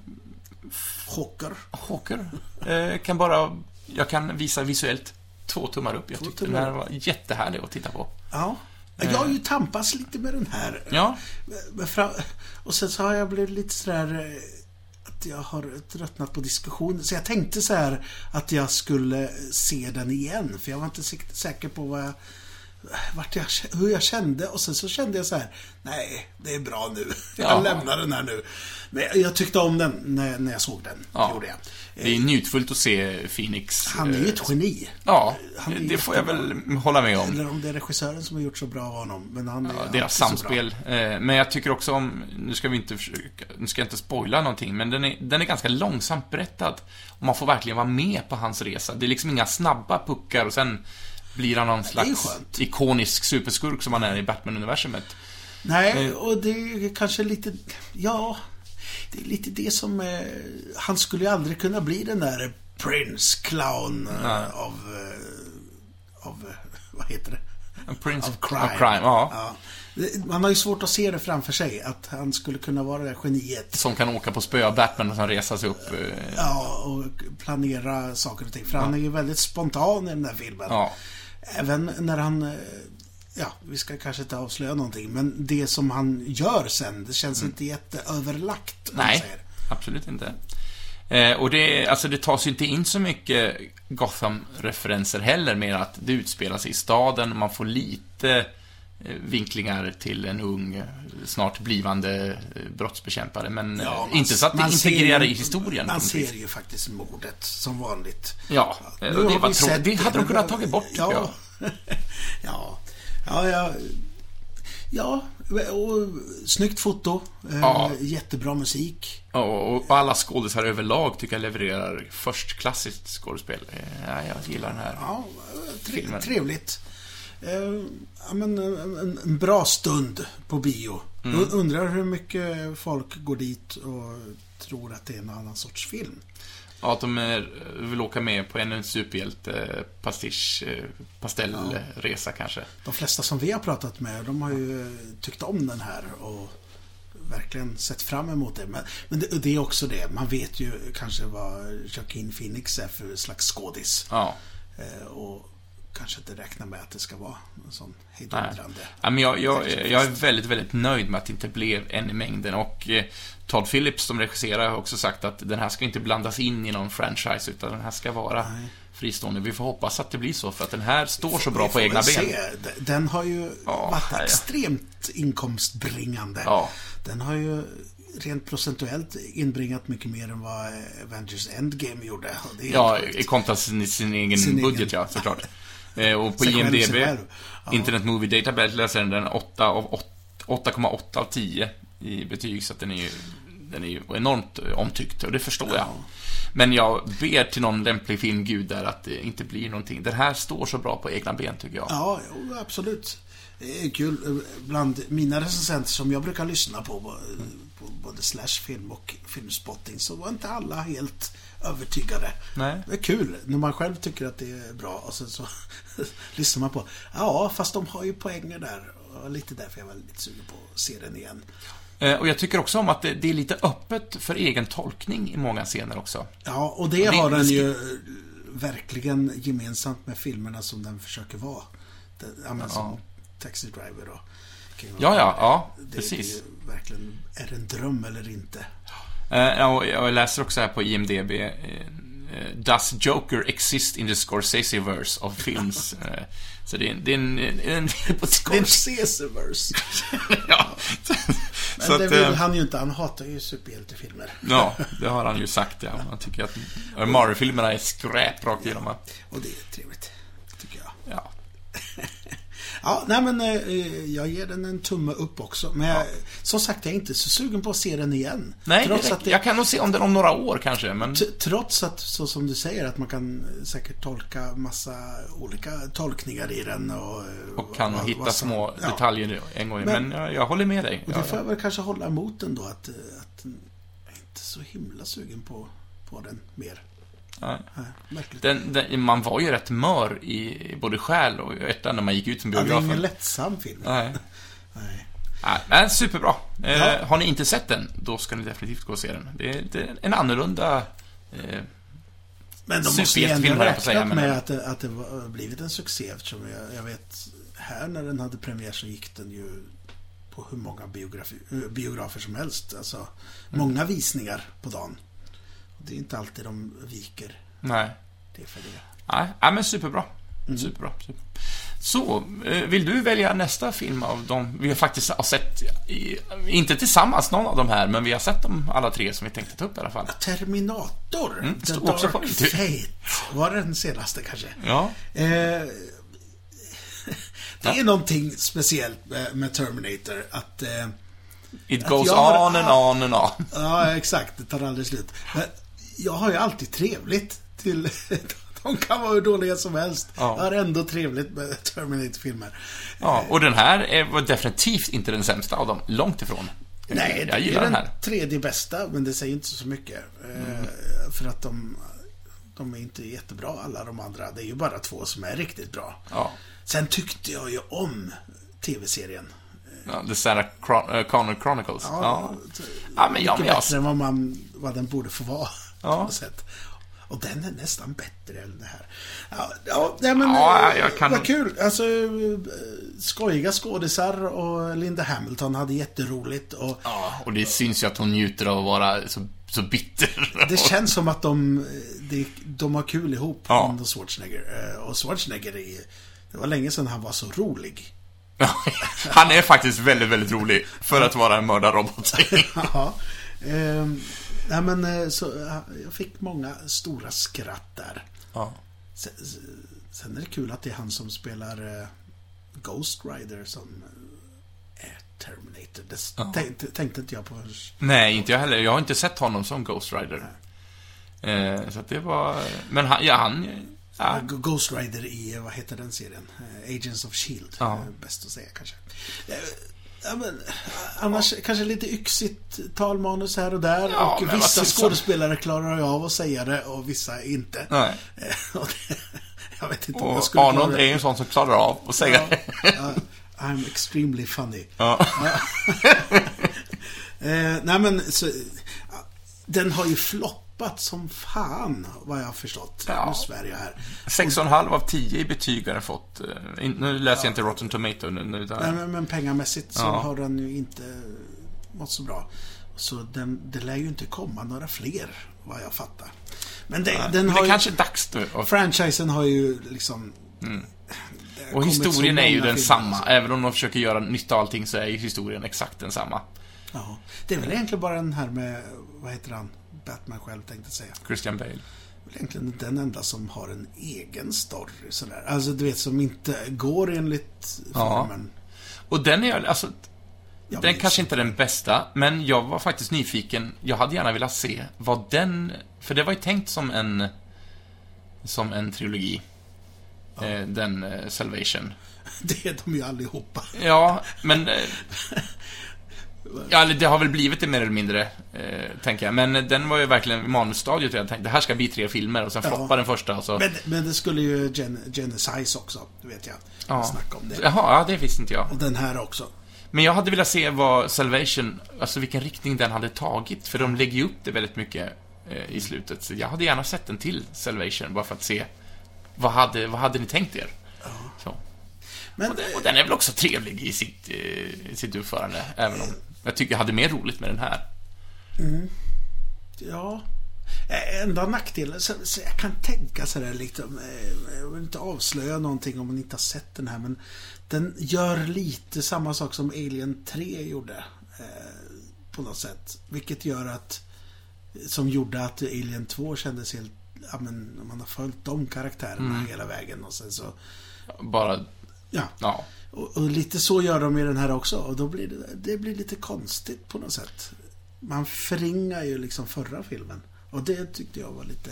Speaker 1: Chocker.
Speaker 2: Joker. Eh, kan bara, jag kan visa visuellt två tummar upp. Jag tyckte den
Speaker 1: tummar
Speaker 2: här var jättehärlig att titta på.
Speaker 1: Ja. Jag har ju tampats lite med den här. eh,
Speaker 2: Ja,
Speaker 1: Men fram- Och sen så har jag blivit lite sådär eh, att jag har tröttnat på diskussion. Så jag tänkte så här att jag skulle se den igen. För jag var inte sikt- säker på vad jag, vart jag, hur jag kände. Och sen så kände jag så här, nej, det är bra nu.
Speaker 2: Ja.
Speaker 1: Jag lämnar den här nu. Men jag tyckte om den när, när jag såg den.
Speaker 2: Ja.
Speaker 1: Gjorde jag.
Speaker 2: det är njutfullt att se Phoenix.
Speaker 1: Han är ju
Speaker 2: eh,
Speaker 1: ett geni.
Speaker 2: Ja,
Speaker 1: han är
Speaker 2: det får jag
Speaker 1: jättebra.
Speaker 2: väl hålla med om.
Speaker 1: Eller om det är regissören som har gjort så bra av honom. Men han är
Speaker 2: Ja,
Speaker 1: alltid
Speaker 2: deras
Speaker 1: så bra.
Speaker 2: samspel. Eh, Men jag tycker också om, nu ska vi inte försöka, nu ska jag inte spoila någonting, men den är, den är ganska långsamt berättad. Och man får verkligen vara med på hans resa. Det är liksom inga snabba puckar och sen blir han någon
Speaker 1: är ju
Speaker 2: slags
Speaker 1: skönt.
Speaker 2: ikonisk superskurk som han är i Batman-universumet. Eh.
Speaker 1: Nej, och det är kanske lite... Ja, det är lite det som... Eh, han skulle ju aldrig kunna bli den där Prince Clown
Speaker 2: Nej.
Speaker 1: eh, av... Eh, av... eh, Vad heter det?
Speaker 2: A Prince
Speaker 1: Of crime.
Speaker 2: Of crime ja.
Speaker 1: Ja. Det- Man har ju svårt att se det framför sig, att han skulle kunna vara det där geniet.
Speaker 2: Som kan åka på spö av Batman och sen resa sig upp. eh,
Speaker 1: Ja, och planera saker och ting. För han är ju väldigt spontan i den där filmen.
Speaker 2: Ja.
Speaker 1: Även när han... eh, Ja, vi ska kanske inte avslöja någonting, men det som han gör sen, det känns inte jätteöverlagt. om man
Speaker 2: Mm. Nej,
Speaker 1: säger.
Speaker 2: absolut inte. Eh, och det, alltså det tas ju inte in så mycket Gotham-referenser heller, mer att det utspelar sig i staden, man får lite eh, vinklingar till en ung, eh, snart blivande eh, brottsbekämpare, men eh,
Speaker 1: Ja, man-
Speaker 2: inte så att det
Speaker 1: man
Speaker 2: integrerar
Speaker 1: ser-
Speaker 2: i historien. på
Speaker 1: Man
Speaker 2: något
Speaker 1: ser
Speaker 2: vis.
Speaker 1: ju faktiskt mordet, som vanligt.
Speaker 2: Ja, eh,
Speaker 1: Nu
Speaker 2: och det
Speaker 1: har
Speaker 2: var
Speaker 1: vi
Speaker 2: tråkigt.
Speaker 1: sett-
Speaker 2: Det hade de kunnat tagit bort, tycker
Speaker 1: ja,
Speaker 2: jag.
Speaker 1: ja. Ja, ja. Ja, och snyggt foto. eh,
Speaker 2: Ja.
Speaker 1: Jättebra musik.
Speaker 2: Ja, och och alla skådisar överlag tycker jag levererar förstklassigt skådespel. Eh, Ja, jag gillar den här.
Speaker 1: Ja, tre-
Speaker 2: Filmen.
Speaker 1: trevligt. Eh, ja, men, en, en- en bra stund på bio.
Speaker 2: Mm.
Speaker 1: Jag undrar hur mycket folk går dit och tror att det är en annan sorts film.
Speaker 2: Ja, att de eh, vill åka med på ännu en eh, superhjälte-pastellresa eh, kanske.
Speaker 1: De flesta som vi har pratat med, de har ju eh, tyckt om den här och verkligen sett fram emot det. Men, men det, det är också det, man vet ju kanske vad Joaquin Phoenix är för slags skådis.
Speaker 2: Ja.
Speaker 1: Eh, och kanske inte räknar med att det ska vara en sån hejdundrande.
Speaker 2: Ja, men jag, jag, jag är väldigt, väldigt nöjd med att det inte blev en i mängden och eh, Todd Phillips som regisserar har också sagt att den här ska inte blandas in i någon franchise utan den här ska vara
Speaker 1: Nej.
Speaker 2: fristående. Vi får hoppas att det blir så för att den här står så bra
Speaker 1: Vi
Speaker 2: på
Speaker 1: får
Speaker 2: egna
Speaker 1: väl
Speaker 2: ben.
Speaker 1: se. D- Den har ju
Speaker 2: Ja,
Speaker 1: varit
Speaker 2: herre.
Speaker 1: extremt inkomstbringande.
Speaker 2: Ja.
Speaker 1: Den har ju rent procentuellt inbringat mycket mer än vad Avengers Endgame gjorde. Och det är
Speaker 2: Ja,
Speaker 1: helt sjukt.
Speaker 2: i kontra sin, sin egen
Speaker 1: Sin egen.
Speaker 2: budget ja, såklart. Eh, och på
Speaker 1: Sig själv,
Speaker 2: IMDB,
Speaker 1: sig själv. Ja.
Speaker 2: Internet Movie Database, läser den den 8 av åt- 8,8 av 10 i betyg, så att den är ju, den är ju enormt eh, omtyckt, och det förstår jag. Men jag ber till någon lämplig filmgud där att det inte blir någonting. Den här står så bra på egna ben, tycker jag.
Speaker 1: Ja, jo, absolut. Det är kul. Bland mina recensenter som jag brukar lyssna på, på både slashfilm och filmspotting, så var inte alla helt övertygade.
Speaker 2: Nej.
Speaker 1: Det är kul när man själv tycker att det är bra och sen så lyssnar man på Ja, fast de har ju poänger där. Och lite därför jag var lite sugen på att se den igen.
Speaker 2: Eh, och jag tycker också om att det, det är lite öppet för egen tolkning i många scener också.
Speaker 1: Ja, och det,
Speaker 2: det-
Speaker 1: har
Speaker 2: det
Speaker 1: den
Speaker 2: ska-
Speaker 1: ju eh, verkligen gemensamt med filmerna som den försöker vara. Den, ja, men som Taxi Driver och King of
Speaker 2: Ja, ja, ja,
Speaker 1: Det,
Speaker 2: precis.
Speaker 1: det är ju verkligen, är det en dröm eller inte?
Speaker 2: Eh, ja, och jag läser också här på IMDB. eh, eh, Does Joker exist in the Scorsese-verse of films? Eh, Så det är en... Det är en, en, en på
Speaker 1: Det är en
Speaker 2: Scorsese.
Speaker 1: Caesar-verse.
Speaker 2: ja. Så,
Speaker 1: Men
Speaker 2: så
Speaker 1: det
Speaker 2: att,
Speaker 1: vill
Speaker 2: eh,
Speaker 1: han ju inte, han hatar ju superhjältefilmer.
Speaker 2: ja, det har han ju sagt ja. Han tycker att eh, Mario-filmerna är skräp rakt igenom. va?
Speaker 1: Och det är trevligt, tycker jag.
Speaker 2: Ja.
Speaker 1: Ja, nej men eh, eh, jag ger den en tumme upp också. Men jag, som sagt, jag är inte så sugen på att se den igen.
Speaker 2: Nej,
Speaker 1: trots
Speaker 2: det,
Speaker 1: att det,
Speaker 2: jag kan nog se om den om några år kanske, men...
Speaker 1: t- Trots att, så som du säger, att man kan eh, säkert tolka massa olika tolkningar i den. Och, eh,
Speaker 2: Och kan
Speaker 1: vad-
Speaker 2: hitta
Speaker 1: vad som-
Speaker 2: små
Speaker 1: ja.
Speaker 2: detaljer en gång.
Speaker 1: Men-
Speaker 2: Men, men jag, jag håller med dig.
Speaker 1: Och
Speaker 2: Ja,
Speaker 1: det får jag väl kanske hålla emot ändå att, eh, att jag är inte så himla sugen på, på den mer.
Speaker 2: ja.
Speaker 1: Nej, Märkligt.
Speaker 2: Den, den, man var ju rätt mör i både själ och hjärta när man gick ut från
Speaker 1: Ja, det är
Speaker 2: biografen.
Speaker 1: ingen lättsam film.
Speaker 2: Nej.
Speaker 1: Nej.
Speaker 2: Nej, men superbra. Eh,
Speaker 1: Ja.
Speaker 2: Har ni inte sett den, då ska ni definitivt gå och se den. Det är, det är en annorlunda... Eh,
Speaker 1: Men de måste ju
Speaker 2: Superhjältefilm,
Speaker 1: ändå
Speaker 2: höll jag på
Speaker 1: räknat
Speaker 2: att säga, men-
Speaker 1: med att det, att det var, blivit en succé eftersom jag, jag vet här när den hade premiär så gick den ju på hur många biografi, eh, biografer som helst. Alltså
Speaker 2: Mm.
Speaker 1: många visningar på dagen. Och det är inte alltid de viker
Speaker 2: nej.
Speaker 1: det för det.
Speaker 2: nej. Nej, men superbra.
Speaker 1: Mm.
Speaker 2: Superbra. superbra. Så, eh, vill du välja nästa film av dem vi faktiskt har sett? I, inte tillsammans någon av de här, men vi har sett dem alla tre som vi tänkte ta upp i alla fall.
Speaker 1: Terminator, The
Speaker 2: stod Mm, också
Speaker 1: Dark
Speaker 2: på min tur.
Speaker 1: Fate, var det den senaste kanske?
Speaker 2: Ja.
Speaker 1: Eh, det
Speaker 2: Ja.
Speaker 1: är någonting speciellt med, med Terminator att eh,
Speaker 2: It
Speaker 1: Att
Speaker 2: goes
Speaker 1: jag har
Speaker 2: on and
Speaker 1: all-
Speaker 2: on and on.
Speaker 1: Ja, exakt. Det tar aldrig slut. Men jag har ju alltid trevligt till... De kan vara hur dåliga som helst.
Speaker 2: Ja.
Speaker 1: Jag har ändå trevligt med Terminator-filmer.
Speaker 2: Ja, och den här är, var definitivt inte den sämsta av dem. Långt ifrån.
Speaker 1: Nej,
Speaker 2: jag
Speaker 1: det
Speaker 2: gillar den
Speaker 1: är den
Speaker 2: här. Mm.
Speaker 1: tredje bästa, men det säger inte så mycket. Eh, För att de, de är inte jättebra, alla de andra. Det är ju bara två som är riktigt bra.
Speaker 2: Ja.
Speaker 1: Sen tyckte jag ju om tv-serien.
Speaker 2: Ja, The Sarah Chron- eh, Connor Chronicles. Ja, ja.
Speaker 1: t-
Speaker 2: men jag, men
Speaker 1: mycket
Speaker 2: jag,
Speaker 1: bättre än vad, man, vad den borde få vara. På
Speaker 2: Ja.
Speaker 1: något sätt. Och den är nästan bättre än det här. Ja, ja nej, men
Speaker 2: Ja,
Speaker 1: eh,
Speaker 2: jag kan-
Speaker 1: vad kul. Alltså, eh, skojiga skådisar och Linda Hamilton hade jätteroligt. Och
Speaker 2: ja, och det syns ju att hon njuter av att vara så, så bitter.
Speaker 1: Det känns som att de, eh, de, de har kul ihop,
Speaker 2: Ja.
Speaker 1: Bond och Schwarzenegger. Eh, Och Schwarzenegger, är, det var länge sedan han var så rolig.
Speaker 2: Han är faktiskt väldigt, väldigt rolig för att vara en mördarrobot.
Speaker 1: Ja. Ehm, Eh, nej, men, eh, så, eh, jag fick många stora skratt där.
Speaker 2: ja.
Speaker 1: Sen, sen är det kul att det är han som spelar eh, Ghost Rider som eh, är Terminator. Det s-
Speaker 2: Ja.
Speaker 1: tänkte, tänkte inte jag på förrän.
Speaker 2: Nej, inte jag heller. Jag har inte sett honom som Ghost Rider. Eh, så att det var... Men han, ja, han... Ja,
Speaker 1: Ah, G- Ghost Rider i, eh, vad heter den serien? Eh, Agents of Shield.
Speaker 2: Ja.
Speaker 1: eh, Bäst att säga kanske. Eh, Ja, men, eh, annars kanske lite yxigt talmanus här och där.
Speaker 2: Ja, men
Speaker 1: och
Speaker 2: vad
Speaker 1: vissa
Speaker 2: tusan.
Speaker 1: skådespelare klarar ju av att säga det och vissa inte.
Speaker 2: nej.
Speaker 1: Eh, och det, jag vet inte om jag
Speaker 2: Och
Speaker 1: skulle klara
Speaker 2: Arnold är
Speaker 1: det.
Speaker 2: ju en sån som klarar av att säga det.
Speaker 1: Ja, ja, I'm extremely funny.
Speaker 2: Ja.
Speaker 1: Eh, nej men, så, eh, den har ju floppat som fan, vad jag har förstått.
Speaker 2: Ja.
Speaker 1: Nu svär jag här.
Speaker 2: 6,5 av 10 i betyg har den fått. Eh, in- Nu läser jag inte Rotten Tomato nu. nu utan-
Speaker 1: Nej, men, men pengamässigt så
Speaker 2: Ja.
Speaker 1: har den ju inte mått så bra. Så den, det lär ju inte komma några fler, vad jag fattar. Men det, den
Speaker 2: Men
Speaker 1: har
Speaker 2: det
Speaker 1: ju,
Speaker 2: kanske är dags nu. Och,
Speaker 1: franchisen har ju liksom... det har
Speaker 2: och
Speaker 1: kommit så
Speaker 2: historien är ju
Speaker 1: många filmer,
Speaker 2: densamma.
Speaker 1: alltså.
Speaker 2: Även om de försöker göra nytta av allting så är ju historien exakt densamma.
Speaker 1: Ja, det är väl egentligen bara den här med, vad heter han, Batman själv tänkte jag säga.
Speaker 2: Christian Bale.
Speaker 1: väl egentligen den enda som har en egen story sådär. Alltså du vet som inte går enligt
Speaker 2: Ja.
Speaker 1: filmen.
Speaker 2: Och den är alltså,
Speaker 1: Jag
Speaker 2: den
Speaker 1: minns
Speaker 2: kanske inte är den bästa, men jag var faktiskt nyfiken. Jag hade gärna velat se vad den, för det var ju tänkt som en, som en trilogi. Eh, Den eh, Salvation.
Speaker 1: Det är de ju allihopa.
Speaker 2: Ja, men... eh, Ja, eller det har väl blivit det mer eller mindre, eh, tänker jag. Men eh, den var ju verkligen i manusstadiet. och Jag tänkte, det här ska bli tre filmer och sen
Speaker 1: Ja.
Speaker 2: floppar den första alltså. och så...
Speaker 1: Men, men det skulle ju Gen- Genesis också, det vet jag.
Speaker 2: ja.
Speaker 1: Snacka om det.
Speaker 2: Jaha, ja, det visste inte jag.
Speaker 1: Och den här också.
Speaker 2: Men jag hade velat se vad Salvation, alltså vilken riktning den hade tagit. För de lägger ju upp det väldigt mycket eh, i slutet. Så jag hade gärna sett en till Salvation, bara för att se vad hade, vad hade ni tänkt er? Så.
Speaker 1: Men
Speaker 2: Och den, och den är väl också trevlig i sitt, eh, i sitt utförande, även om jag tycker jag hade mer roligt med den här.
Speaker 1: ja, Eh, enda nackdelen, så, så jag kan tänka sådär liksom, eh, jag vill inte avslöja någonting om man inte har sett den här men den gör lite samma sak som Alien 3 gjorde. Eh, på något sätt. Vilket gör att som gjorde att Alien 2 kändes helt Ja men man har följt de karaktärerna hela vägen och sen så
Speaker 2: Bara,
Speaker 1: Ja,
Speaker 2: ja.
Speaker 1: och, och lite så gör de i den här också och då blir det, det blir lite konstigt på något sätt. Man förringar ju liksom förra filmen och det tyckte jag var lite,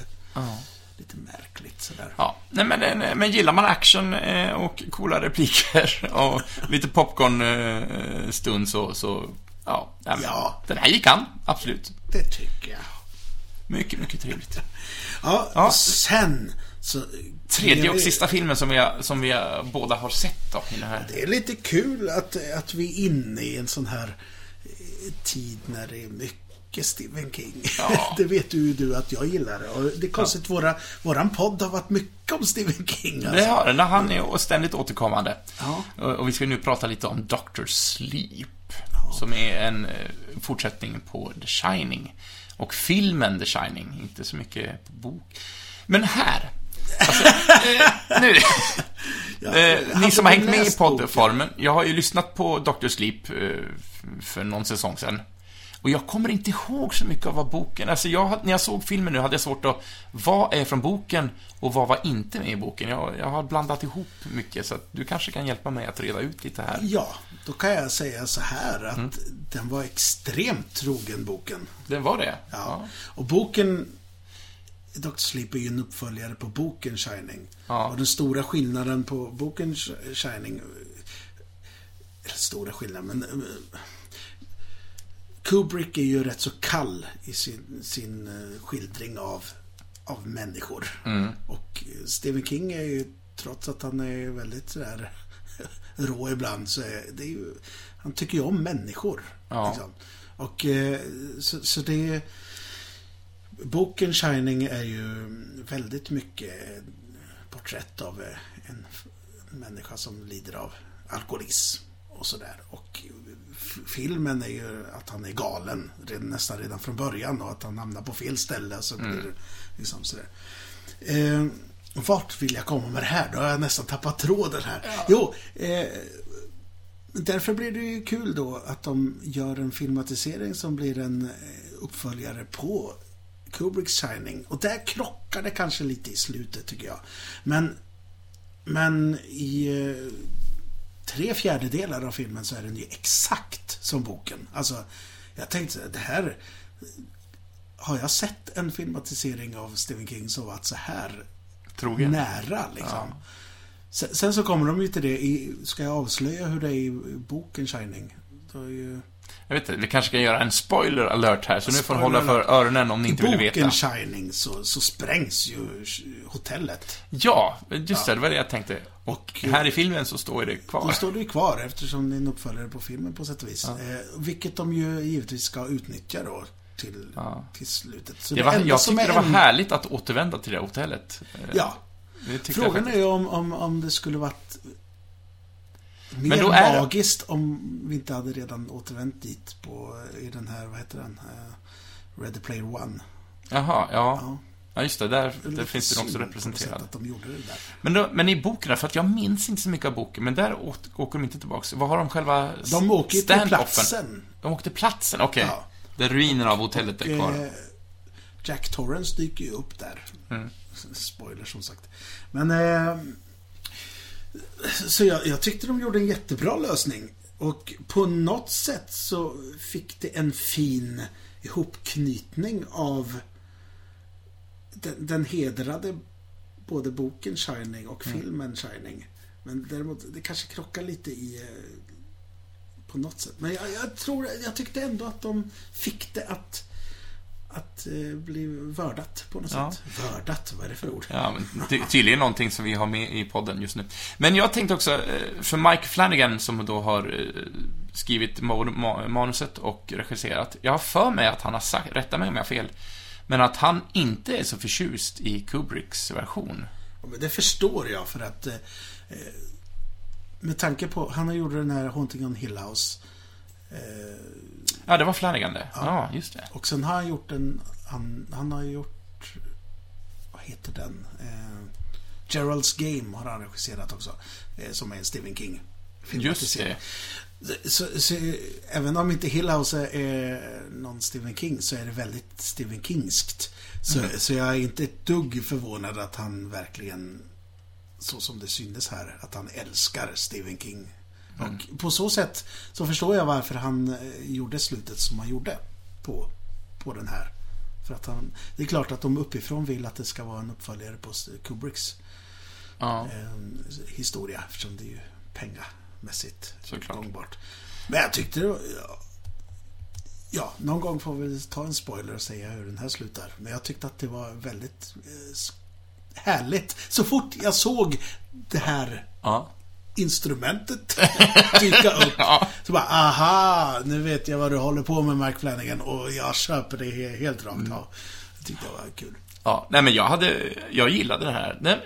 Speaker 1: lite märkligt sådär.
Speaker 2: Ja, nej men, eh, nej, men gillar man action eh, och coola repliker och lite popcorn-stund så, så ja, nej, men,
Speaker 1: Ja.
Speaker 2: Den här gick an, absolut.
Speaker 1: Det tycker jag.
Speaker 2: Mycket, mycket trevligt.
Speaker 1: Ja,
Speaker 2: Ja.
Speaker 1: sen så...
Speaker 2: Tredje och sista filmen som vi, som vi båda har sett då, i den här.
Speaker 1: Det är lite kul att, att vi är inne i en sån här eh, tid när det är mycket Stephen King.
Speaker 2: Ja.
Speaker 1: Det vet ju du att jag gillar. Och det är konstigt, våra, våran podd har varit mycket om Stephen King.
Speaker 2: Det
Speaker 1: Alltså.
Speaker 2: har den, han är ständigt återkommande.
Speaker 1: Ja.
Speaker 2: Och och vi ska nu prata lite om Dr. Sleep. Som är en eh, fortsättning på The Shining. Och filmen The Shining, inte så mycket på bok. Men här. Alltså, eh, nu. Eh, ni
Speaker 1: hade
Speaker 2: som har
Speaker 1: väl
Speaker 2: hängt med i
Speaker 1: läst boken.
Speaker 2: poddformen, jag har ju lyssnat på Dr. Sleep eh, f- för någon säsong sedan. Och jag kommer inte ihåg så mycket av vad boken, alltså jag, när jag såg filmen nu hade jag svårt att, vad är från boken och vad var inte med i boken? Jag, jag har blandat ihop mycket, så att du kanske kan hjälpa mig att reda ut lite här.
Speaker 1: Ja, då kan jag säga så här att den var extremt trogen boken.
Speaker 2: Det var det?
Speaker 1: Ja. Och boken Dr. Sleep är ju en uppföljare på boken Shining.
Speaker 2: Ja.
Speaker 1: Och den stora skillnaden på boken Sh- Shining... eh, Eller stora skillnaden, men... eh, Kubrick är ju rätt så kall i sin, sin eh, skildring av, av människor.
Speaker 2: Mm.
Speaker 1: Och eh, Stephen King är ju, trots att han är väldigt sådär rå ibland, så är det är ju... Han tycker ju om människor.
Speaker 2: Ja.
Speaker 1: Liksom. Och eh, så, så det... är- Boken Shining är ju väldigt mycket porträtt av eh, en f- en människa som lider av alkoholism och sådär. Och f- filmen är ju att han är galen redan, nästan redan från början och att han hamnar på fel ställe. Så blir det liksom sådär. Eh, vart vill jag komma med det här? Då har jag nästan tappat tråden här. Jo, eh, därför blir det ju kul då att de gör en filmatisering som blir en eh, uppföljare på Kubricks Shining. Och där krockar det kanske lite i slutet, tycker jag. Men, men i eh, tre fjärdedelar av filmen så är den ju exakt som boken. Alltså, jag tänkte så här, det här... Har jag sett en filmatisering av Stephen King som varit så här
Speaker 2: Trogen.
Speaker 1: nära liksom. Sen, sen så kommer de ju till det i, ska jag avslöja hur det är i boken Shining? Då är ju,
Speaker 2: Jag vet inte, vi kanske kan göra en spoiler alert här, så nu får ni
Speaker 1: Spoiler
Speaker 2: hålla för öronen om ni
Speaker 1: I
Speaker 2: inte vill veta.
Speaker 1: boken Shining så, så sprängs ju hotellet.
Speaker 2: Ja, just det, det var det jag tänkte. Och
Speaker 1: eh,
Speaker 2: här i filmen så står det
Speaker 1: Då
Speaker 2: kvar.
Speaker 1: står det ju kvar eftersom det är en uppföljare på filmen på sätt och vis. Eh, vilket de ju givetvis ska utnyttja då till,
Speaker 2: Ja.
Speaker 1: till slutet. Så
Speaker 2: Det var,
Speaker 1: enda
Speaker 2: jag
Speaker 1: som
Speaker 2: tyckte
Speaker 1: är
Speaker 2: det var
Speaker 1: en-
Speaker 2: härligt att återvända till det hotellet. Eh,
Speaker 1: Ja.
Speaker 2: det tyckte jag
Speaker 1: Frågan
Speaker 2: faktiskt.
Speaker 1: är ju om, om, om det skulle varit mer
Speaker 2: då är-
Speaker 1: magiskt om vi inte hade redan återvänt dit på, i den här, vad heter den? Eh, Ready Player One.
Speaker 2: Jaha, ja.
Speaker 1: Ja.
Speaker 2: Ja, just det. Där, där
Speaker 1: Lite
Speaker 2: finns den också
Speaker 1: synd alltså. på
Speaker 2: representerad.
Speaker 1: sätt att de gjorde det där.
Speaker 2: Men, då, men i boken, för att jag minns inte så mycket av boken, men där åt, åker de inte tillbaka. Vad har de själva
Speaker 1: De åker ju till
Speaker 2: stand-offen?
Speaker 1: platsen.
Speaker 2: De åkte till platsen, okej.
Speaker 1: Ja.
Speaker 2: Där ruinerna av hotellet är kvar.
Speaker 1: Eh, Jack Torrance dyker ju upp där. Spoiler som sagt. Men... Eh, så jag, jag tyckte de gjorde en jättebra lösning. Och på något sätt så fick det en fin ihopknytning av den, den hedrade både boken Shining och filmen Shining. Men däremot, det kanske krockar lite i... eh, På något sätt. Men jag, jag tror, jag tyckte ändå att de fick det att... Att eh, bli vördat på något
Speaker 2: Ja.
Speaker 1: sätt. Vördat, vad är det för ord?
Speaker 2: Ja, men ty- tydligen någonting som vi har med i podden just nu. Men jag tänkte också, eh, för Mike Flanagan som då har eh, skrivit mo- ma- manuset och regisserat. Jag har för mig att han har sagt, rätta mig om jag har fel, men att han inte är så förtjust i Kubricks version.
Speaker 1: Ja, men det förstår jag för att eh, eh, med tanke på, han gjorde den här Haunting on Hill House eh,
Speaker 2: Ja, det var Flanagan det. Ja, just det.
Speaker 1: och sen har han gjort en, han, han har gjort, vad heter den? Eh, Gerald's Game har han regisserat också, eh, som är en Stephen King.
Speaker 2: Just det.
Speaker 1: Så, så, eh, även om inte Hillhouse är, är någon Stephen King så är det väldigt Stephen Kingskt. Så, så jag är inte ett dugg förvånad att han verkligen, så som det synes här, att han älskar Stephen King. Och på så sätt så förstår jag varför han eh, gjorde slutet som han gjorde på, på den här. För att han, det är klart att de uppifrån vill att det ska vara en uppföljare på Kubricks
Speaker 2: Ja.
Speaker 1: eh, historia eftersom det är ju pengamässigt
Speaker 2: Såklart.
Speaker 1: gångbart. Men jag tyckte det var, ja, ja, någon gång får vi ta en spoiler och säga hur den här slutar. Men jag tyckte att det var väldigt eh, s- härligt. Så fort jag såg det här
Speaker 2: ja.
Speaker 1: instrumentet dyka upp.
Speaker 2: Ja.
Speaker 1: Så bara, aha, nu vet jag vad du håller på med Mark Flanagan och jag köper det he- helt rakt
Speaker 2: Mm.
Speaker 1: av. Det tyckte jag var kul.
Speaker 2: Ja, nej men jag hade, jag gillade den här. Den,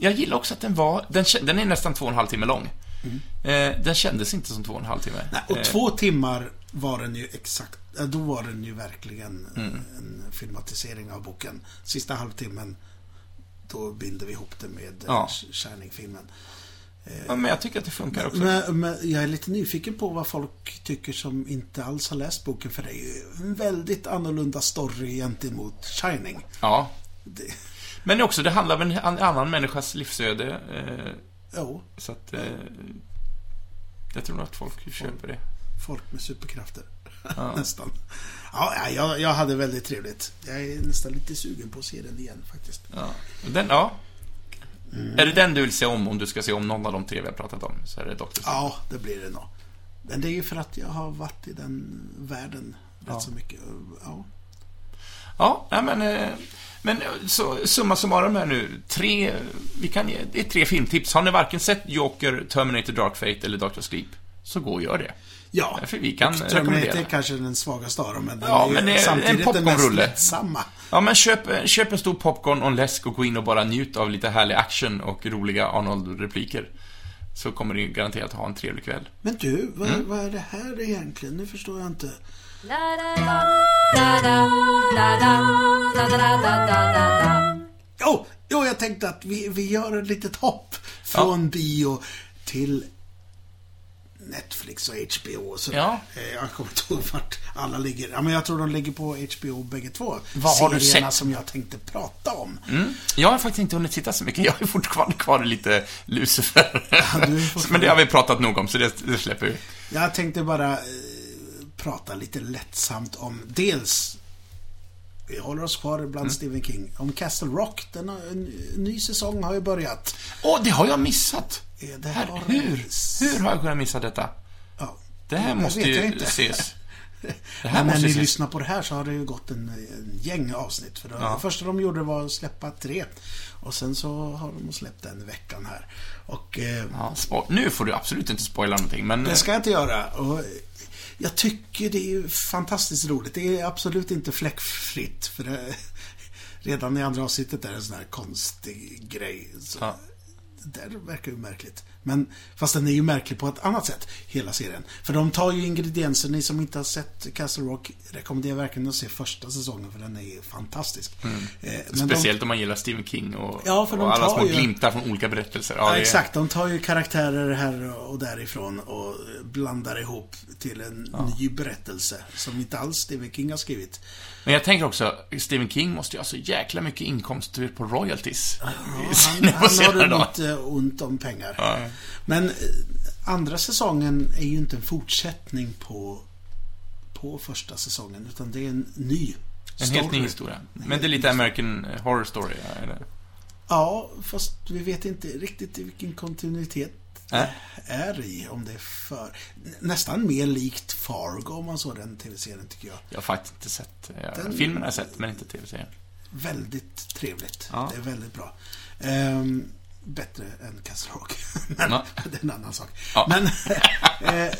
Speaker 2: jag gillade också att den var, den, kä- den är nästan två och en halv timme lång. Eh, den kändes inte som två och en halv timme.
Speaker 1: Mm. Nej, och
Speaker 2: Eh,
Speaker 1: två timmar var den ju exakt, eh, då var den ju verkligen
Speaker 2: Mm.
Speaker 1: eh, en filmatisering av boken. Sista halvtimmen, då binder vi ihop det med
Speaker 2: Ja.
Speaker 1: ja. Shining-filmen.
Speaker 2: ja, men jag tycker att det funkar också.
Speaker 1: Men, men jag är lite nyfiken på vad folk tycker som inte alls har läst boken, för det är ju en väldigt annorlunda story gentemot Shining.
Speaker 2: Ja.
Speaker 1: Det,
Speaker 2: Men också, det handlar om en an- annan människas livsöde. Eh,
Speaker 1: jo,
Speaker 2: så att... Eh, jag tror nog att folk köper det.
Speaker 1: folk med superkrafter.
Speaker 2: Ja.
Speaker 1: nästan. Ja, ja, jag, jag hade väldigt trevligt. Jag är nästan lite sugen på att se den igen faktiskt. Mm.
Speaker 2: Ja. Och Den, ja. Är det den du vill se om, om du ska se om någon av de tre vi har pratat om, så är det Dr. Sleep.
Speaker 1: Ja, det blir det nog. Men det är ju för att jag har varit i den världen
Speaker 2: Ja.
Speaker 1: rätt så mycket. Ja.
Speaker 2: Ja, nej, men... Eh, men eh, så, summa summarum här nu. Tre... Vi kan ge, det är tre filmtips. Har ni varken sett Joker, Terminator Dark Fate eller Dr. Sleep, så gå och gör det.
Speaker 1: ja.
Speaker 2: Därför vi kan eh,
Speaker 1: Terminator är
Speaker 2: rekommendera.
Speaker 1: kanske den svagaste av dem, men den
Speaker 2: Ja,
Speaker 1: är ju
Speaker 2: men det är en
Speaker 1: samtidigt den mest
Speaker 2: popcornrulle.
Speaker 1: lättsamma.
Speaker 2: Ja, men köp, köp en stor popcorn och en läsk och gå in och bara njut av lite härlig action och roliga Arnold-repliker. Så kommer ni garanterat ha en trevlig kväll.
Speaker 1: Men du, vad,
Speaker 2: Mm.
Speaker 1: vad är det här egentligen? Nu förstår jag inte.
Speaker 3: La da da da da da da da da da da da da.
Speaker 1: Jo, jo jag tänkte att vi, vi gör ett litet hopp från bio till Netflix och HBO och sådär.
Speaker 2: Ja.
Speaker 1: Eh, Jag kommer inte ihåg vart alla ligger. Ja, men jag tror de ligger på HBO bägge två.
Speaker 2: Vad har du
Speaker 1: Serierna
Speaker 2: sett?
Speaker 1: som jag tänkte prata om.
Speaker 2: Mm. Jag har faktiskt inte hunnit titta så mycket. Jag är fortfarande kvar i lite Lucifer.
Speaker 1: du är fortfarande-
Speaker 2: Men det har vi pratat nog om, så det, det släpper vi.
Speaker 1: Jag tänkte bara eh, prata lite lättsamt om dels vi håller oss kvar bland
Speaker 2: Mm.
Speaker 1: Stephen King. Om Castle Rock, den har, en ny säsong har ju börjat.
Speaker 2: Åh, det har jag missat!
Speaker 1: Eh, Det
Speaker 2: Här,
Speaker 1: har-
Speaker 2: hur? Hur har jag kunnat missa detta?
Speaker 1: Ja.
Speaker 2: Det här måste
Speaker 1: vet jag
Speaker 2: ju
Speaker 1: inte.
Speaker 2: ses. Det här
Speaker 1: Men när
Speaker 2: måste
Speaker 1: ni
Speaker 2: ju ses.
Speaker 1: lyssnar på det här så har det ju gått en, en gäng avsnitt. För det,
Speaker 2: Ja.
Speaker 1: det första de gjorde var att släppa tre. Och sen så har de släppt den i veckan här. Och eh,
Speaker 2: Ja, spo- nu får du absolut inte spoila någonting, men...
Speaker 1: det ska jag inte göra. Och jag tycker det är ju fantastiskt roligt. Det är absolut inte fläckfritt. För det, redan i andra avsnittet är det en sån här konstig grej. Så,
Speaker 2: Ja.
Speaker 1: Det där verkar ju märkligt. Men, fast den är ju märklig på ett annat sätt, hela serien. För de tar ju ingredienser, ni som inte har sett Castle Rock rekommenderar verkligen att se första säsongen för den är ju fantastisk. Eh, men de-
Speaker 2: Mm. Speciellt om man gillar Stephen King och,
Speaker 1: Ja, för de
Speaker 2: och alla
Speaker 1: tar
Speaker 2: små
Speaker 1: ju-
Speaker 2: glimtar från olika berättelser. Ja,
Speaker 1: Ja,
Speaker 2: det-
Speaker 1: exakt. De tar ju karaktärer här och därifrån och blandar ihop till en ny berättelse som inte alls Stephen King har skrivit.
Speaker 2: Men jag tänker också, Stephen King måste ju ha så jäkla mycket inkomster på royalties.
Speaker 1: Ja,
Speaker 2: Sen
Speaker 1: han,
Speaker 2: på
Speaker 1: han har
Speaker 2: senare
Speaker 1: ju
Speaker 2: dagar.
Speaker 1: lite ont om pengar.
Speaker 2: Ja.
Speaker 1: Men eh, andra säsongen är ju inte en fortsättning på, på första säsongen, utan det är en ny
Speaker 2: En helt ny historia. Men det är lite American Horror Story, ja, eller?
Speaker 1: Ja, fast vi vet inte riktigt i vilken kontinuitet
Speaker 2: Nej.
Speaker 1: det är i. Om det är för... Nä- Nästan mer likt Fargo om man såg den tv-serien tycker jag.
Speaker 2: Jag har faktiskt inte sett... Jag,
Speaker 1: Den-
Speaker 2: Filmen har jag sett, men inte tv-serien.
Speaker 1: Väldigt trevligt.
Speaker 2: Ja.
Speaker 1: Det är väldigt bra. Ehm, bättre än Castle Rock. Men
Speaker 2: Ja.
Speaker 1: det är en annan sak.
Speaker 2: Ja.
Speaker 1: Men, eh,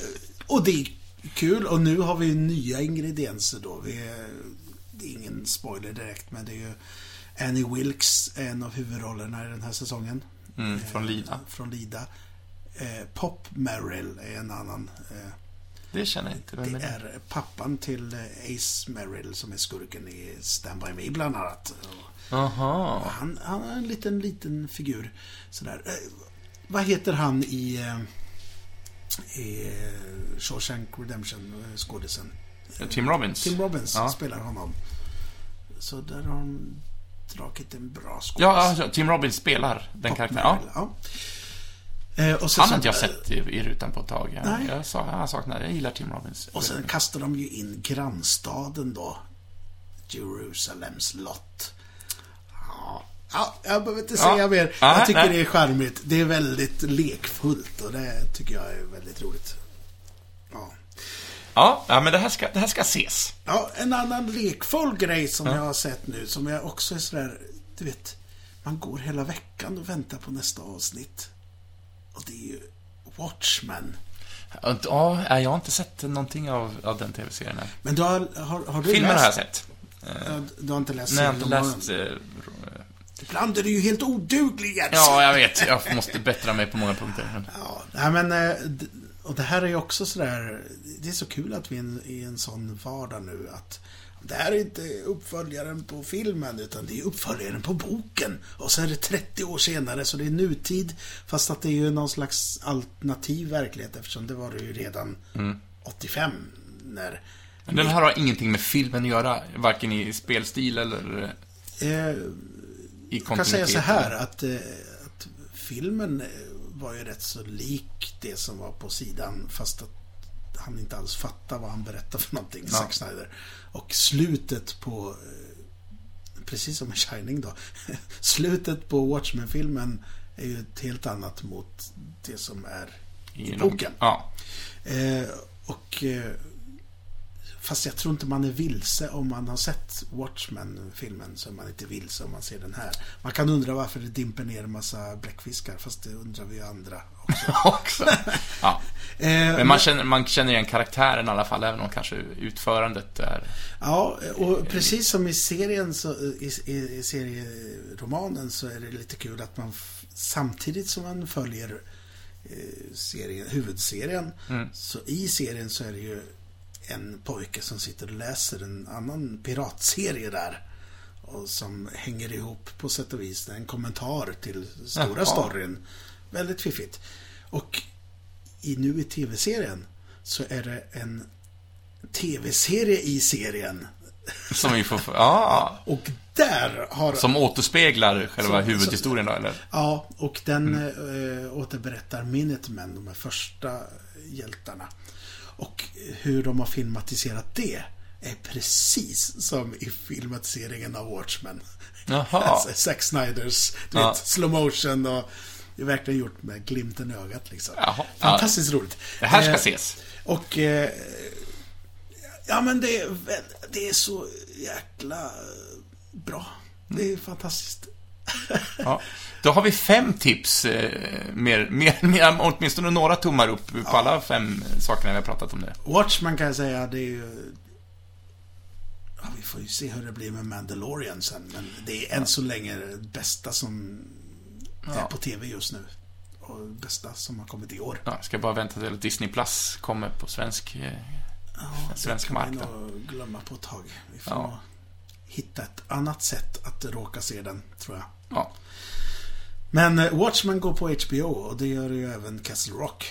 Speaker 1: och det är kul och nu har vi nya ingredienser då. Vi, eh, det är ingen spoiler direkt men det är ju Annie Wilkes, en av huvudrollerna i den här säsongen.
Speaker 2: Mm, från Lina.
Speaker 1: Från Lida. Eh, Pop Merrill är en annan. Eh,
Speaker 2: Det känner jag inte. Vem är
Speaker 1: det
Speaker 2: det?
Speaker 1: är pappan till eh, Ace Merrill som är skurken i Stand By Me bland annat.
Speaker 2: Jaha.
Speaker 1: Han, han är en liten, liten figur. Sådär. Eh, vad heter han i, eh, i eh, Shawshank Redemption, eh, skådisen?
Speaker 2: Tim Robbins.
Speaker 1: Tim Robbins
Speaker 2: Ja.
Speaker 1: spelar honom. Så där har de dragit en bra skådis.
Speaker 2: Ja, ja, ja, Tim Robbins spelar den
Speaker 1: Pop
Speaker 2: karaktären.
Speaker 1: Merrill,
Speaker 2: Ja.
Speaker 1: ja. Eh, och sen
Speaker 2: Han
Speaker 1: så-
Speaker 2: har inte jag sett i, i rutan på ett tag. Jag,
Speaker 1: Nej.
Speaker 2: jag, sa, jag saknar, jag gillar Tim Robbins.
Speaker 1: Och sen kastar de ju in grannstaden då. Jerusalems lott. Ja, ja jag behöver inte
Speaker 2: Ja.
Speaker 1: säga mer.
Speaker 2: Nej,
Speaker 1: Jag tycker
Speaker 2: nej.
Speaker 1: det är charmigt. Det är väldigt lekfullt och det tycker jag är väldigt roligt. Ja.
Speaker 2: Ja, ja, men det här ska, det här ska ses.
Speaker 1: Ja, en annan lekfull grej som jag har sett nu som jag också är sådär, du vet, man går hela veckan och väntar på nästa avsnitt. Och det är ju Watchmen.
Speaker 2: Ja, inte- Ja, jag har inte sett någonting av, av den tv-serien. här.
Speaker 1: Men du har, har, har du
Speaker 2: Filmen
Speaker 1: läst?
Speaker 2: har jag sett.
Speaker 1: Ja, Du har inte läst?
Speaker 2: Men jag har
Speaker 1: sent
Speaker 2: inte
Speaker 1: om
Speaker 2: läst...
Speaker 1: morgonen.
Speaker 2: eh,
Speaker 1: Ibland är du ju helt oduglig Jens.
Speaker 2: Ja, jag vet. Jag måste bättra mig på många punkter. Men...
Speaker 1: Ja, nej men, eh, d- och det här är ju också sådär, det är så kul att vi är en- i en sån vardag nu att det här är inte uppföljaren på filmen utan det är uppföljaren på boken. Och så är det 30 år senare så det är nutid fast att det är ju någon slags alternativ verklighet eftersom det var det ju redan
Speaker 2: Mm.
Speaker 1: 85 när
Speaker 2: Men Den här har ingenting med filmen att göra, varken i spelstil eller eh,
Speaker 1: eh,
Speaker 2: i
Speaker 1: Jag kan säga
Speaker 2: kontinuitet.
Speaker 1: så här att, eh, att filmen eh, var ju rätt så lik det som var på sidan fast att han inte alls fattar vad han berättar för någonting,
Speaker 2: Ja.
Speaker 1: Zack Snyder. Och slutet på, eh, precis som i Shining då, slutet på Watchmen-filmen är ju ett helt annat mot det som är i
Speaker 2: någon-
Speaker 1: boken.
Speaker 2: Ja.
Speaker 1: Eh, och... Eh, fast jag tror inte man är vilse om man har sett Watchmen-filmen så är man inte vilse om man ser den här. Man kan undra varför det dimper ner en massa bläckfiskar, fast det undrar vi ju andra också.
Speaker 2: Också. ja.
Speaker 1: Eh,
Speaker 2: Men man känner, man känner igen karaktären i alla fall, även om kanske utförandet är...
Speaker 1: Ja, och precis som i serien, så, i, i, i serieromanen, så är det lite kul att man f- samtidigt som man följer eh, serien, huvudserien, så i serien så är det ju en pojke som sitter och läser en annan piratserie där. Och som hänger ihop på sätt och vis. Det är en kommentar till stora
Speaker 2: Jaha.
Speaker 1: storyn. Väldigt fiffigt. Och i nu i tv-serien så är det en tv-serie i serien.
Speaker 2: Som vi får... Ja.
Speaker 1: Och där har...
Speaker 2: Som återspeglar själva
Speaker 1: Så-
Speaker 2: huvudhistorien då, eller?
Speaker 1: Ja, och den eh, återberättar Minutemen, de här första hjältarna. Och hur de har filmatiserat det är precis som i filmatiseringen av Watchmen.
Speaker 2: Jaha.
Speaker 1: Alltså, Zack Snyders, du
Speaker 2: Ja.
Speaker 1: vet, slow motion och... Det är verkligen gjort med glimten i ögat liksom.
Speaker 2: Jaha.
Speaker 1: Fantastiskt roligt.
Speaker 2: Det här ska
Speaker 1: Eh,
Speaker 2: ses.
Speaker 1: Och... Eh, ja, men det är, väl- det är så jäkla eh, bra. Det är
Speaker 2: Mm.
Speaker 1: fantastiskt.
Speaker 2: Ja. Då har vi fem tips, eh, mer, mer, mer, åtminstone några tummar upp på alla fem sakerna vi har pratat om nu.
Speaker 1: Watchmen kan jag säga, det är ju... Ja, vi får ju se hur det blir med Mandalorian sen, men det är än så länge det bästa som är på TV just nu. Och det bästa som har kommit i år.
Speaker 2: Ja, jag ska bara vänta till att Disney Plus kommer på svensk... eh,
Speaker 1: Ja,
Speaker 2: svensk
Speaker 1: det kan vi
Speaker 2: marknad.
Speaker 1: nog glömma på ett tag. Vi får
Speaker 2: Ja.
Speaker 1: nog hitta ett annat sätt att råka se den, tror jag.
Speaker 2: Ja.
Speaker 1: Men eh, Watchmen går på HBO och det gör ju även Castle Rock.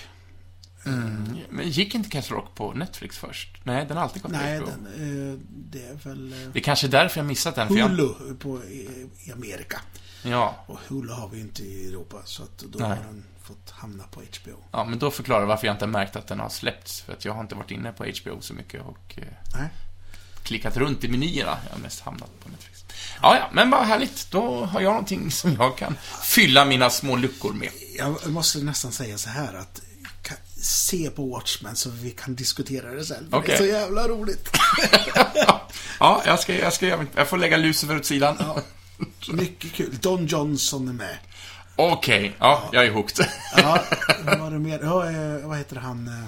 Speaker 1: Mm.
Speaker 2: Men gick inte Castle Rock på Netflix först? Nej, den har alltid gått
Speaker 1: Nej,
Speaker 2: på HBO.
Speaker 1: den, eh, det är väl eh,
Speaker 2: Det är kanske är därför jag missat den, för jag...
Speaker 1: Hulu på, i, i Amerika.
Speaker 2: Ja.
Speaker 1: Och Hulu har vi inte i Europa, så att då
Speaker 2: Nej.
Speaker 1: har den fått hamna på HBO.
Speaker 2: Ja, men då förklarar jag varför jag inte har märkt att den har släppts. För att jag har inte varit inne på HBO så mycket och eh,
Speaker 1: Nej.
Speaker 2: klickat runt i menyerna. Jag har mest hamnat på Netflix. Ja, ja, men vad härligt. Då har jag någonting som jag kan fylla mina små luckor med.
Speaker 1: Jag måste nästan säga så här att ka- se på Watchmen så vi kan diskutera det sen. för Det
Speaker 2: Okej.
Speaker 1: är så jävla roligt.
Speaker 2: Ja, jag ska, jag ska göra mitt- Jag får lägga Lucifer åt sidan.
Speaker 1: Mycket kul. Don Johnson är med.
Speaker 2: Okej, ja, jag är hooked.
Speaker 1: Ja, vad var det mer? Ja, eh, vad heter han? Eh,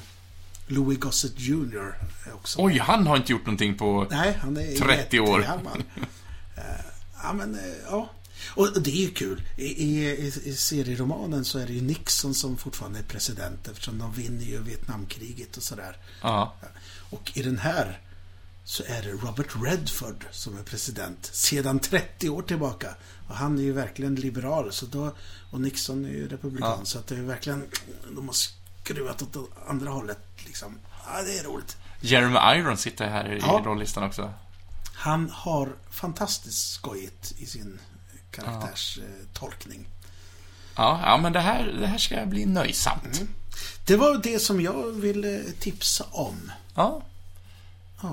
Speaker 1: Louis Gossett Jr. är också.
Speaker 2: Oj, han har inte gjort någonting på...
Speaker 1: Nej, han är
Speaker 2: 30 år.
Speaker 1: jättegammal. Eh, Ja, men eh, ja. Och det är ju kul. I, i, i i serieromanen så är det ju Nixon som fortfarande är president eftersom de vinner ju Vietnamkriget och sådär.
Speaker 2: Ja.
Speaker 1: Och i den här så är det Robert Redford som är president sedan 30 år tillbaka. Och han är ju verkligen liberal så då, och Nixon är ju republikan
Speaker 2: Ja.
Speaker 1: så att det är verkligen, de har skruvat åt andra hållet liksom. Ja, det är roligt.
Speaker 2: Jeremy Irons sitter här i
Speaker 1: Ja.
Speaker 2: rollistan också.
Speaker 1: Han har fantastiskt skojigt i sin eh, karaktärstolkning.
Speaker 2: Ja, ja men det här, det här ska bli nöjsamt.
Speaker 1: Mm. Det var det som jag ville tipsa om.
Speaker 2: Ja.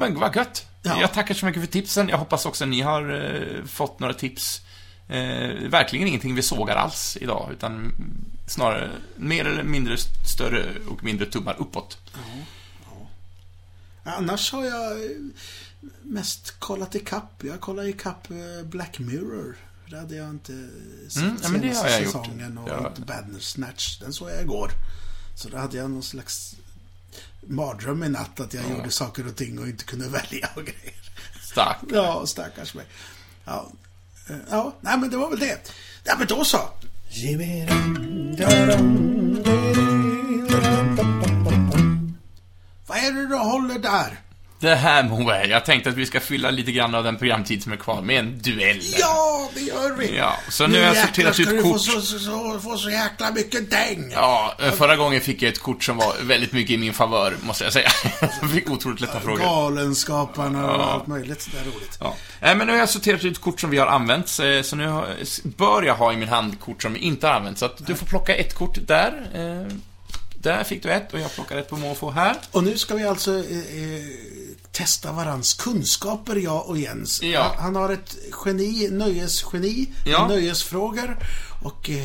Speaker 2: Men vad gött.
Speaker 1: Ja.
Speaker 2: Jag tackar så mycket för tipsen. Jag hoppas också att ni har eh, fått några tips. Eh, verkligen ingenting vi sågar alls idag, utan snarare mer eller mindre st- större och mindre tummar uppåt.
Speaker 1: Annars har jag eh, mest kollat ikapp. Jag kollade ikapp eh, Black Mirror. Det hade jag inte sett
Speaker 2: Mm, ja, men det har
Speaker 1: senaste
Speaker 2: jag gjort.
Speaker 1: säsongen och
Speaker 2: Ja.
Speaker 1: inte Bandersnatch. Den såg jag igår. Så då hade jag någon slags mardröm i natt att jag gjorde saker och ting och inte kunde välja och grejer.
Speaker 2: Stark.
Speaker 1: Ja, stackars mig. Ja, Eh, ja nej men det var väl det. Ja, men då så. Vad är det du håller där?
Speaker 2: Det här Moe, jag tänkte att vi ska fylla lite grann av den programtid som är kvar med en duell.
Speaker 1: Ja, det gör vi.
Speaker 2: Ja, så nu har jag
Speaker 1: jäklar
Speaker 2: sorterat
Speaker 1: ska
Speaker 2: ut
Speaker 1: du
Speaker 2: kort.
Speaker 1: Få så, så, så, få så jäkla mycket däng.
Speaker 2: Ja, eh, förra gången fick jag ett kort som var väldigt mycket i min favör, måste jag säga. Jag fick otroligt lätta frågor.
Speaker 1: Galenskaparna och allt möjligt sådär roligt.
Speaker 2: Ja. Nej, men nu har jag sorterat ut kort som vi har använt, eh, så nu har- s- bör jag ha i min hand kort som inte har använt. Så att du får plocka ett kort där. eh, Där fick du ett och jag plockar ett på måfå här.
Speaker 1: Och nu ska vi alltså eh, eh, testa varans kunskaper, jag och Jens.
Speaker 2: Ja.
Speaker 1: Han, han har ett geni, nöjesgeni,
Speaker 2: Ja.
Speaker 1: nöjesfrågor. Och eh,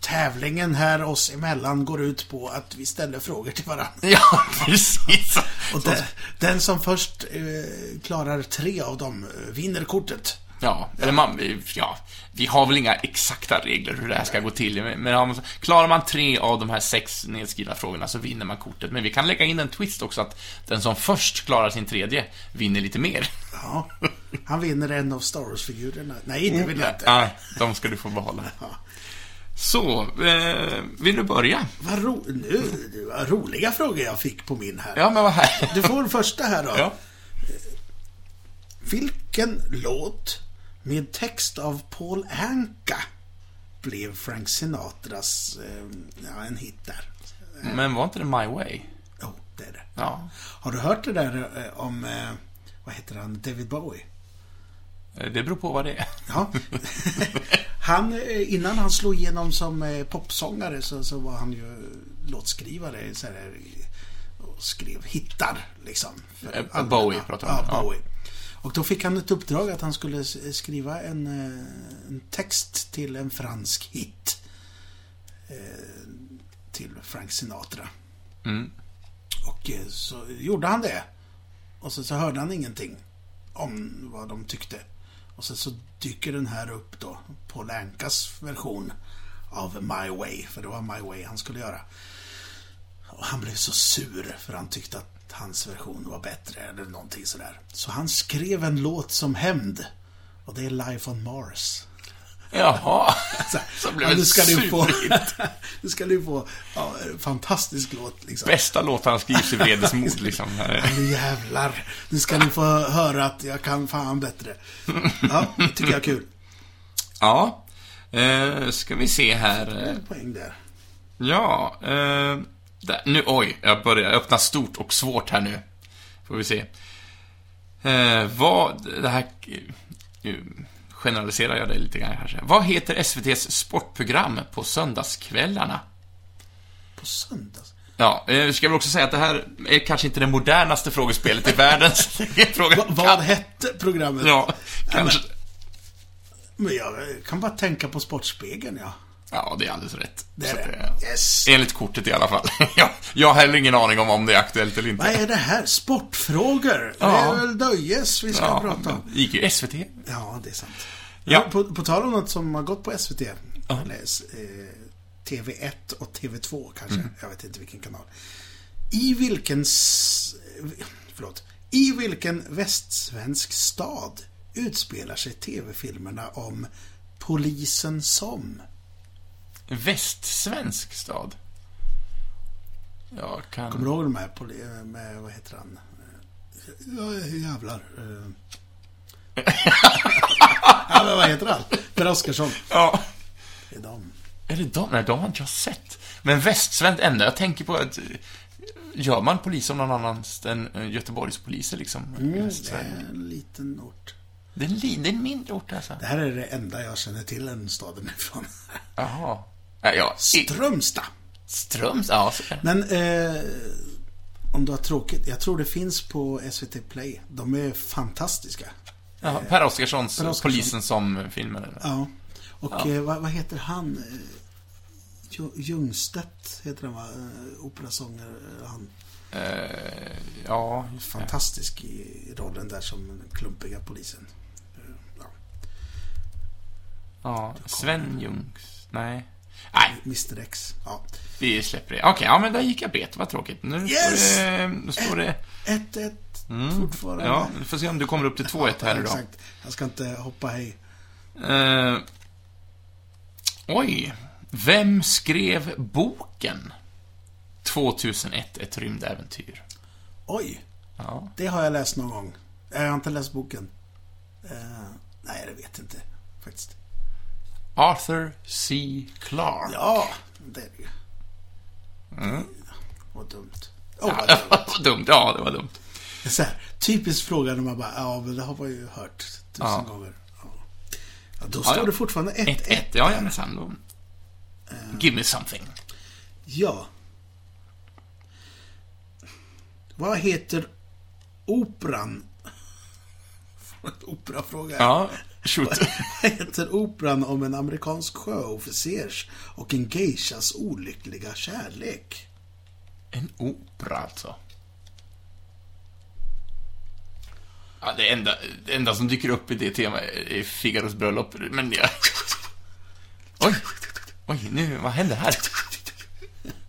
Speaker 1: tävlingen här oss emellan går ut på att vi ställer frågor till varandra.
Speaker 2: Ja, precis.
Speaker 1: Och den, den som först eh, klarar tre av dem eh, vinner kortet.
Speaker 2: Ja, eller man, vi- ja, vi har väl inga exakta regler hur det här ska gå till, men men om- klarar man tre av de här sex nedskrivna frågorna så vinner man kortet. Men vi kan lägga in en twist också att den som först klarar sin tredje vinner lite mer.
Speaker 1: Ja. Han vinner en av Star Wars-figurerna. Nej, det vill jag inte.
Speaker 2: Nej, de ska du få behålla. Så, eh, vill du börja?
Speaker 1: Vad ro- nu, det var roliga frågor jag fick på min här.
Speaker 2: Ja, men vad här.
Speaker 1: Du får den första här då.
Speaker 2: Ja.
Speaker 1: Vilken låt med text av Paul Anka blev Frank Sinatras, eh, ja, en hit där?
Speaker 2: Men var inte det My Way?
Speaker 1: Jo, det är det.
Speaker 2: Ja.
Speaker 1: Har du hört det där eh, om, eh, vad heter han, David Bowie?
Speaker 2: Eh, Det beror på vad det är.
Speaker 1: Ja. han, eh, innan han slog igenom som eh, popsångare så, så var han ju låtskrivare så här, och skrev hittar liksom. för
Speaker 2: Eh,
Speaker 1: allmänna-
Speaker 2: Bowie pratar vi om,
Speaker 1: Ja,
Speaker 2: ja.
Speaker 1: Bowie. Och då fick han ett uppdrag att han skulle s- skriva en, eh, en text till en fransk hit. Eh, Till Frank Sinatra.
Speaker 2: Mm.
Speaker 1: Och eh, så gjorde han det. Och sen så hörde han ingenting om vad de tyckte. Och sen så dyker den här upp då, Paul Ankas version av My Way, för det var My Way han skulle göra. Och han blev så sur för han tyckte att hans version var bättre eller någonting sådär. Så han skrev en låt som hämnd. Och det är Life on Mars.
Speaker 2: Jaha.
Speaker 1: Så
Speaker 2: blev det
Speaker 1: nu ska du få... nu ska du få ja, en fantastisk låt liksom.
Speaker 2: Bästa låtarna skrivs i vredesmod liksom.
Speaker 1: Nu jävlar. Nu ska ni få höra att jag kan fan bättre. Ja, det tycker jag är kul.
Speaker 2: Ja. Eh, ska vi se här. eh.
Speaker 1: En poäng där.
Speaker 2: Ja. Eh, där. Nu, oj. Jag börjar öppna stort och svårt här nu. Får vi se. Eh, vad... Det här... Nu generaliserar jag det lite grann kanske. Vad heter SVT's sportprogram på söndagskvällarna?
Speaker 1: På söndags.
Speaker 2: Ja, eh, ska vi också säga att det här är kanske inte det modernaste frågespelet i världen. så det är frågan-
Speaker 1: Va, vad hette programmet?
Speaker 2: Ja, kanske.
Speaker 1: Men jag kan bara tänka på Sportspegeln, ja.
Speaker 2: Ja, det är alldeles rätt.
Speaker 1: Det
Speaker 2: Så
Speaker 1: är
Speaker 2: att,
Speaker 1: det. Yes.
Speaker 2: Enligt kortet i alla fall. jag, jag har heller ingen aning om om det är aktuellt eller
Speaker 1: Vad
Speaker 2: inte.
Speaker 1: är det här? Sportfrågor? Det
Speaker 2: Ja.
Speaker 1: är väl nöjes vi ska
Speaker 2: Ja,
Speaker 1: prata om.
Speaker 2: men, gick ju SVT.
Speaker 1: Ja, det är sant.
Speaker 2: Ja.
Speaker 1: På, på tal om något som har gått på SVT, eller, eh, TV1 och TV2 kanske,
Speaker 2: Mm.
Speaker 1: jag vet inte vilken kanal. I vilken, s- eh, förlåt, i vilken västsvensk stad utspelar sig TV-filmerna om Polisen som?
Speaker 2: Västsvensk stad. Jag
Speaker 1: Kommer
Speaker 2: kan...
Speaker 1: du ihåg de här, poli- eh, med, vad heter han? Eh, Ja, jävlar. eh. ja, men vad heter han? Per Oscarsson.
Speaker 2: Ja.
Speaker 1: Det är de.
Speaker 2: Är det de? Nej, de har inte jag sett. Men västsvensk, enda jag tänker på är att... eh, Gör man polis om någon annans än eh, Göteborgspoliser liksom? i
Speaker 1: Det
Speaker 2: Västsverige?
Speaker 1: är en liten ort.
Speaker 2: Det är en li- det är en mindre ort alltså.
Speaker 1: Det här är det enda jag känner till den staden ifrån.
Speaker 2: Jaha. Nej, ja. I-
Speaker 1: Strömstad.
Speaker 2: Ströms? Ja, så är det.
Speaker 1: Men eh, om du har tråkigt, jag tror det finns på SVT Play. De är fantastiska.
Speaker 2: Jaha, Per Oscarssons
Speaker 1: Per Oscarsson.
Speaker 2: Polisen som filmen. eller?
Speaker 1: Ja. Och eh, vad, vad heter han? Eh, Jo- Ljungstedt heter han va? Eh, Operasångare. eh, Han
Speaker 2: Eh, ja, just det.
Speaker 1: fantastisk i rollen där som den klumpiga polisen. Eh, Ja.
Speaker 2: Ja, Sven Ljungs... Nej. Nej,
Speaker 1: Mr X. Ja.
Speaker 2: vi släpper det. Okej, ja men där gick jag bet. Vad tråkigt. Nu
Speaker 1: Yes!
Speaker 2: står det... Nu står det
Speaker 1: 1-1 fortfarande.
Speaker 2: Mm. ja, vi får se om du kommer upp till 2-1 här idag.
Speaker 1: Exakt. Jag ska inte hoppa hej.
Speaker 2: Eh, oj. Vem skrev boken 2001, ett rymdäventyr?
Speaker 1: Oj!
Speaker 2: Ja.
Speaker 1: Det har jag läst någon gång. Jag har inte läst boken. Eh, nej, det vet jag inte faktiskt.
Speaker 2: Arthur C. Clarke.
Speaker 1: Ja, det är det ju.
Speaker 2: Mm.
Speaker 1: Vad dumt. Åh, vad dumt.
Speaker 2: Vad dumt. Ja, det var dumt.
Speaker 1: Så här, typisk fråga när man bara, ja men det har man ju hört tusen
Speaker 2: Ja.
Speaker 1: gånger. Ja. Ja, då står
Speaker 2: ja.
Speaker 1: det fortfarande 1-1.
Speaker 2: 1-1, ja, jajamensan. Då...
Speaker 1: Eh.
Speaker 2: Give me something.
Speaker 1: Ja. Vad heter operan? Operafråga.
Speaker 2: Ja, shoot.
Speaker 1: Vad heter operan om en amerikansk sjöofficers och en geishas olyckliga kärlek?
Speaker 2: En opera, alltså. Ja, det enda, det enda som dyker upp i det temat är Figaros bröllop, men jag... Oj! Oj, nu, vad händer här?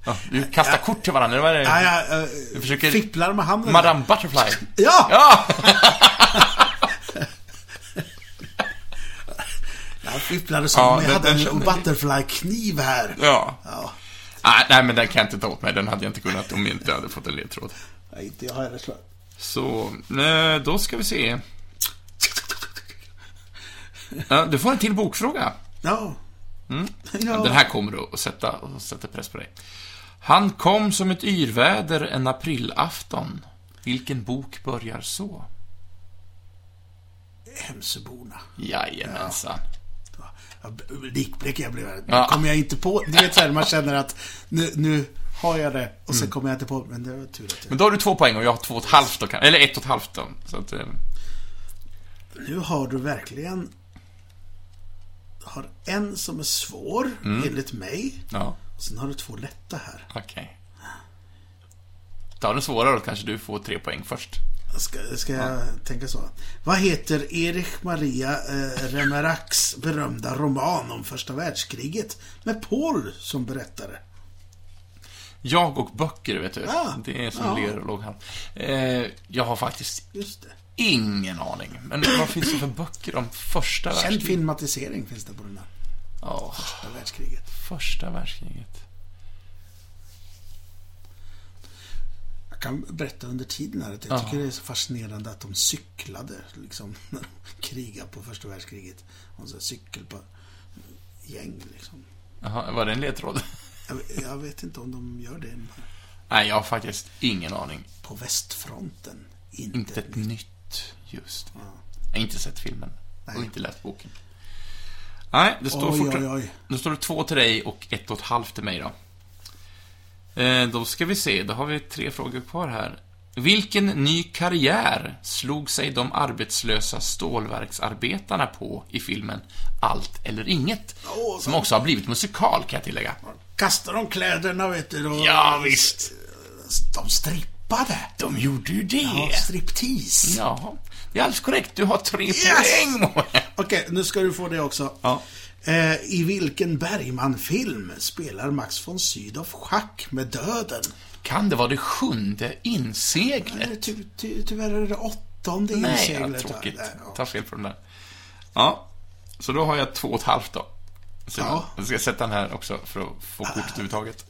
Speaker 2: Ja, du kastar kort till varandra, vad är
Speaker 1: Ja,
Speaker 2: det?
Speaker 1: jag eh,
Speaker 2: försöker-
Speaker 1: fipplar med handen.
Speaker 2: Madame Butterfly.
Speaker 1: Ja!
Speaker 2: Ja!
Speaker 1: Jag fipplade som
Speaker 2: Ja,
Speaker 1: om jag
Speaker 2: den-
Speaker 1: hade
Speaker 2: den
Speaker 1: en
Speaker 2: känner vi.
Speaker 1: butterfly-kniv här.
Speaker 2: Ja.
Speaker 1: Ja,
Speaker 2: Nej, nej, men den kan jag inte ta åt mig. Den hade jag inte kunnat om jag inte hade fått en ledtråd.
Speaker 1: nej, inte jag heller så.
Speaker 2: Så, eh, då ska vi se. Ja, Du får en till bokfråga.
Speaker 1: Ja. ja.
Speaker 2: Mm. Den här kommer att sätta, att sätta press på dig. Han kom som ett yrväder en aprilafton. Vilken bok börjar så?
Speaker 1: Hemsöborna.
Speaker 2: Jajamensan.
Speaker 1: Ja, b- Likblek jag blev.
Speaker 2: Ja.
Speaker 1: Ja. kommer jag inte på. Du vet så här, man känner att nu, nu har jag det och sen kommer jag inte på. Men det var tur att jag...
Speaker 2: Men då har du två poäng och jag har två och ett halvt då, kan- eller ett och ett halvt då. Så att, eh,
Speaker 1: Nu har du verkligen... Har en som är svår, enligt mig.
Speaker 2: ja,
Speaker 1: Och sen har du två lätta här.
Speaker 2: okej. Ta den svåra då, kanske du får tre poäng först.
Speaker 1: Ska, ska jag tänka så? Vad heter Erich Maria eh, Remaraks berömda roman om första världskriget? Med Paul som berättare.
Speaker 2: Jag och böcker, vet du.
Speaker 1: Ah,
Speaker 2: det är som
Speaker 1: ja.
Speaker 2: ler och låg hand. Eh, jag har faktiskt
Speaker 1: Just det.
Speaker 2: ingen aning. Men vad finns det för böcker om första
Speaker 1: Känd
Speaker 2: världskriget?
Speaker 1: filmatisering finns det på den här.
Speaker 2: Ja,
Speaker 1: Första världskriget.
Speaker 2: första världskriget.
Speaker 1: Jag kan berätta under tiden här att jag tycker det är så fascinerande att de cyklade liksom när de krigade på första världskriget. Och så cykel på gäng liksom.
Speaker 2: Jaha, var det en ledtråd?
Speaker 1: Jag, jag vet inte om de gör det
Speaker 2: Nej, jag har faktiskt ingen aning.
Speaker 1: på västfronten. Inte,
Speaker 2: Inte ett nytt, just det. Jag har inte sett filmen. Och inte läst boken. Nej, det står
Speaker 1: Oj,
Speaker 2: fortfarande...
Speaker 1: oj, oj.
Speaker 2: Nu står det två till dig och ett och ett halvt till mig då. Eh, då ska vi se, då har vi tre frågor kvar här. Vilken ny karriär slog sig de arbetslösa stålverksarbetarna på i filmen Allt eller inget?
Speaker 1: Åh,
Speaker 2: som också har blivit musikal, kan jag tillägga.
Speaker 1: Kastar de kläderna vet du. Och
Speaker 2: Ja, visst.
Speaker 1: De strippade.
Speaker 2: De gjorde ju det!
Speaker 1: Ja, striptease.
Speaker 2: Ja, det är alldeles korrekt. Du har tre poäng, Moe.
Speaker 1: Okej, nu ska du få det också.
Speaker 2: Ja.
Speaker 1: Eh, I vilken Bergman-film spelar Max von Sydow schack med döden?
Speaker 2: Kan det vara det sjunde inseglet?
Speaker 1: Nej, ty, ty, tyvärr är det åttonde
Speaker 2: Nej,
Speaker 1: inseglet.
Speaker 2: vad
Speaker 1: här.
Speaker 2: tråkigt.
Speaker 1: Nej, ja.
Speaker 2: Tar fel på den där. Ja, så då har jag två och ett halvt då. Så
Speaker 1: Ja. Ah.
Speaker 2: Jag ska sätta den här också för att få kortet överhuvudtaget.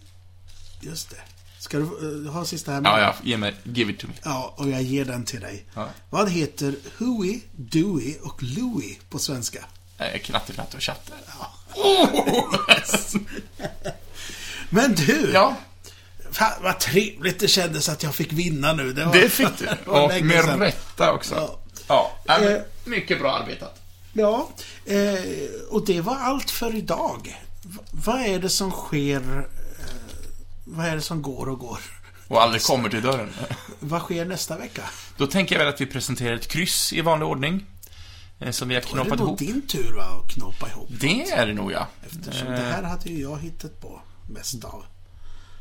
Speaker 1: Just det. Ska du eh, ha sista här med?
Speaker 2: Ja, ja, ge mig, give it to me.
Speaker 1: Ja, och jag ger den till dig.
Speaker 2: Ja.
Speaker 1: Vad heter Huey, Dewey och Louie på svenska?
Speaker 2: Eh, Knatte, knatte och Oh, tjatte.
Speaker 1: Men du!
Speaker 2: Ja,
Speaker 1: Fan vad trevligt det kändes att jag fick vinna nu. Det, var,
Speaker 2: det fick du.
Speaker 1: det var
Speaker 2: Och
Speaker 1: länge
Speaker 2: med
Speaker 1: sedan.
Speaker 2: rätta också.
Speaker 1: Ja.
Speaker 2: Ja, nej, men
Speaker 1: Eh.
Speaker 2: mycket bra arbetat.
Speaker 1: Ja, eh, och det var allt för idag. V- vad är det som sker? Eh, vad är det som går och går?
Speaker 2: Och aldrig kommer till dörren.
Speaker 1: Vad sker nästa vecka?
Speaker 2: Då tänker jag väl att vi presenterar ett kryss i vanlig ordning. eh, Som vi har
Speaker 1: Är det
Speaker 2: knoppat
Speaker 1: nog
Speaker 2: ihop.
Speaker 1: din tur va, att knåpa ihop?
Speaker 2: Det är det nog, ja.
Speaker 1: Eftersom det här hade ju jag hittat på mest av.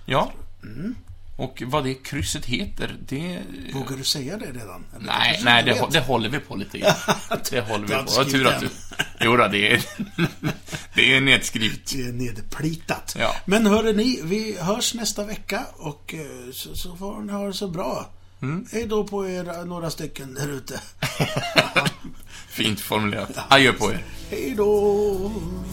Speaker 2: Ja.
Speaker 1: Mm.
Speaker 2: Och vad det krysset heter, det...
Speaker 1: Vågar du säga det redan? Eller du
Speaker 2: Nej,
Speaker 1: kanske
Speaker 2: nej
Speaker 1: inte
Speaker 2: det,
Speaker 1: vet?
Speaker 2: hå- det håller vi på lite grann. Det håller vi
Speaker 1: du har
Speaker 2: på. Vad tur
Speaker 1: skrivit
Speaker 2: att du...
Speaker 1: den.
Speaker 2: Jo då, det är... Det är nedskrivet.
Speaker 1: Det är nedplitat.
Speaker 2: Ja.
Speaker 1: Men hörde ni, vi hörs nästa vecka och eh, så, så får ni ha det så bra.
Speaker 2: Mm.
Speaker 1: Hej då på er eh, några stycken där ute.
Speaker 2: Fint formulerat. Adjö på er.
Speaker 1: Hej då!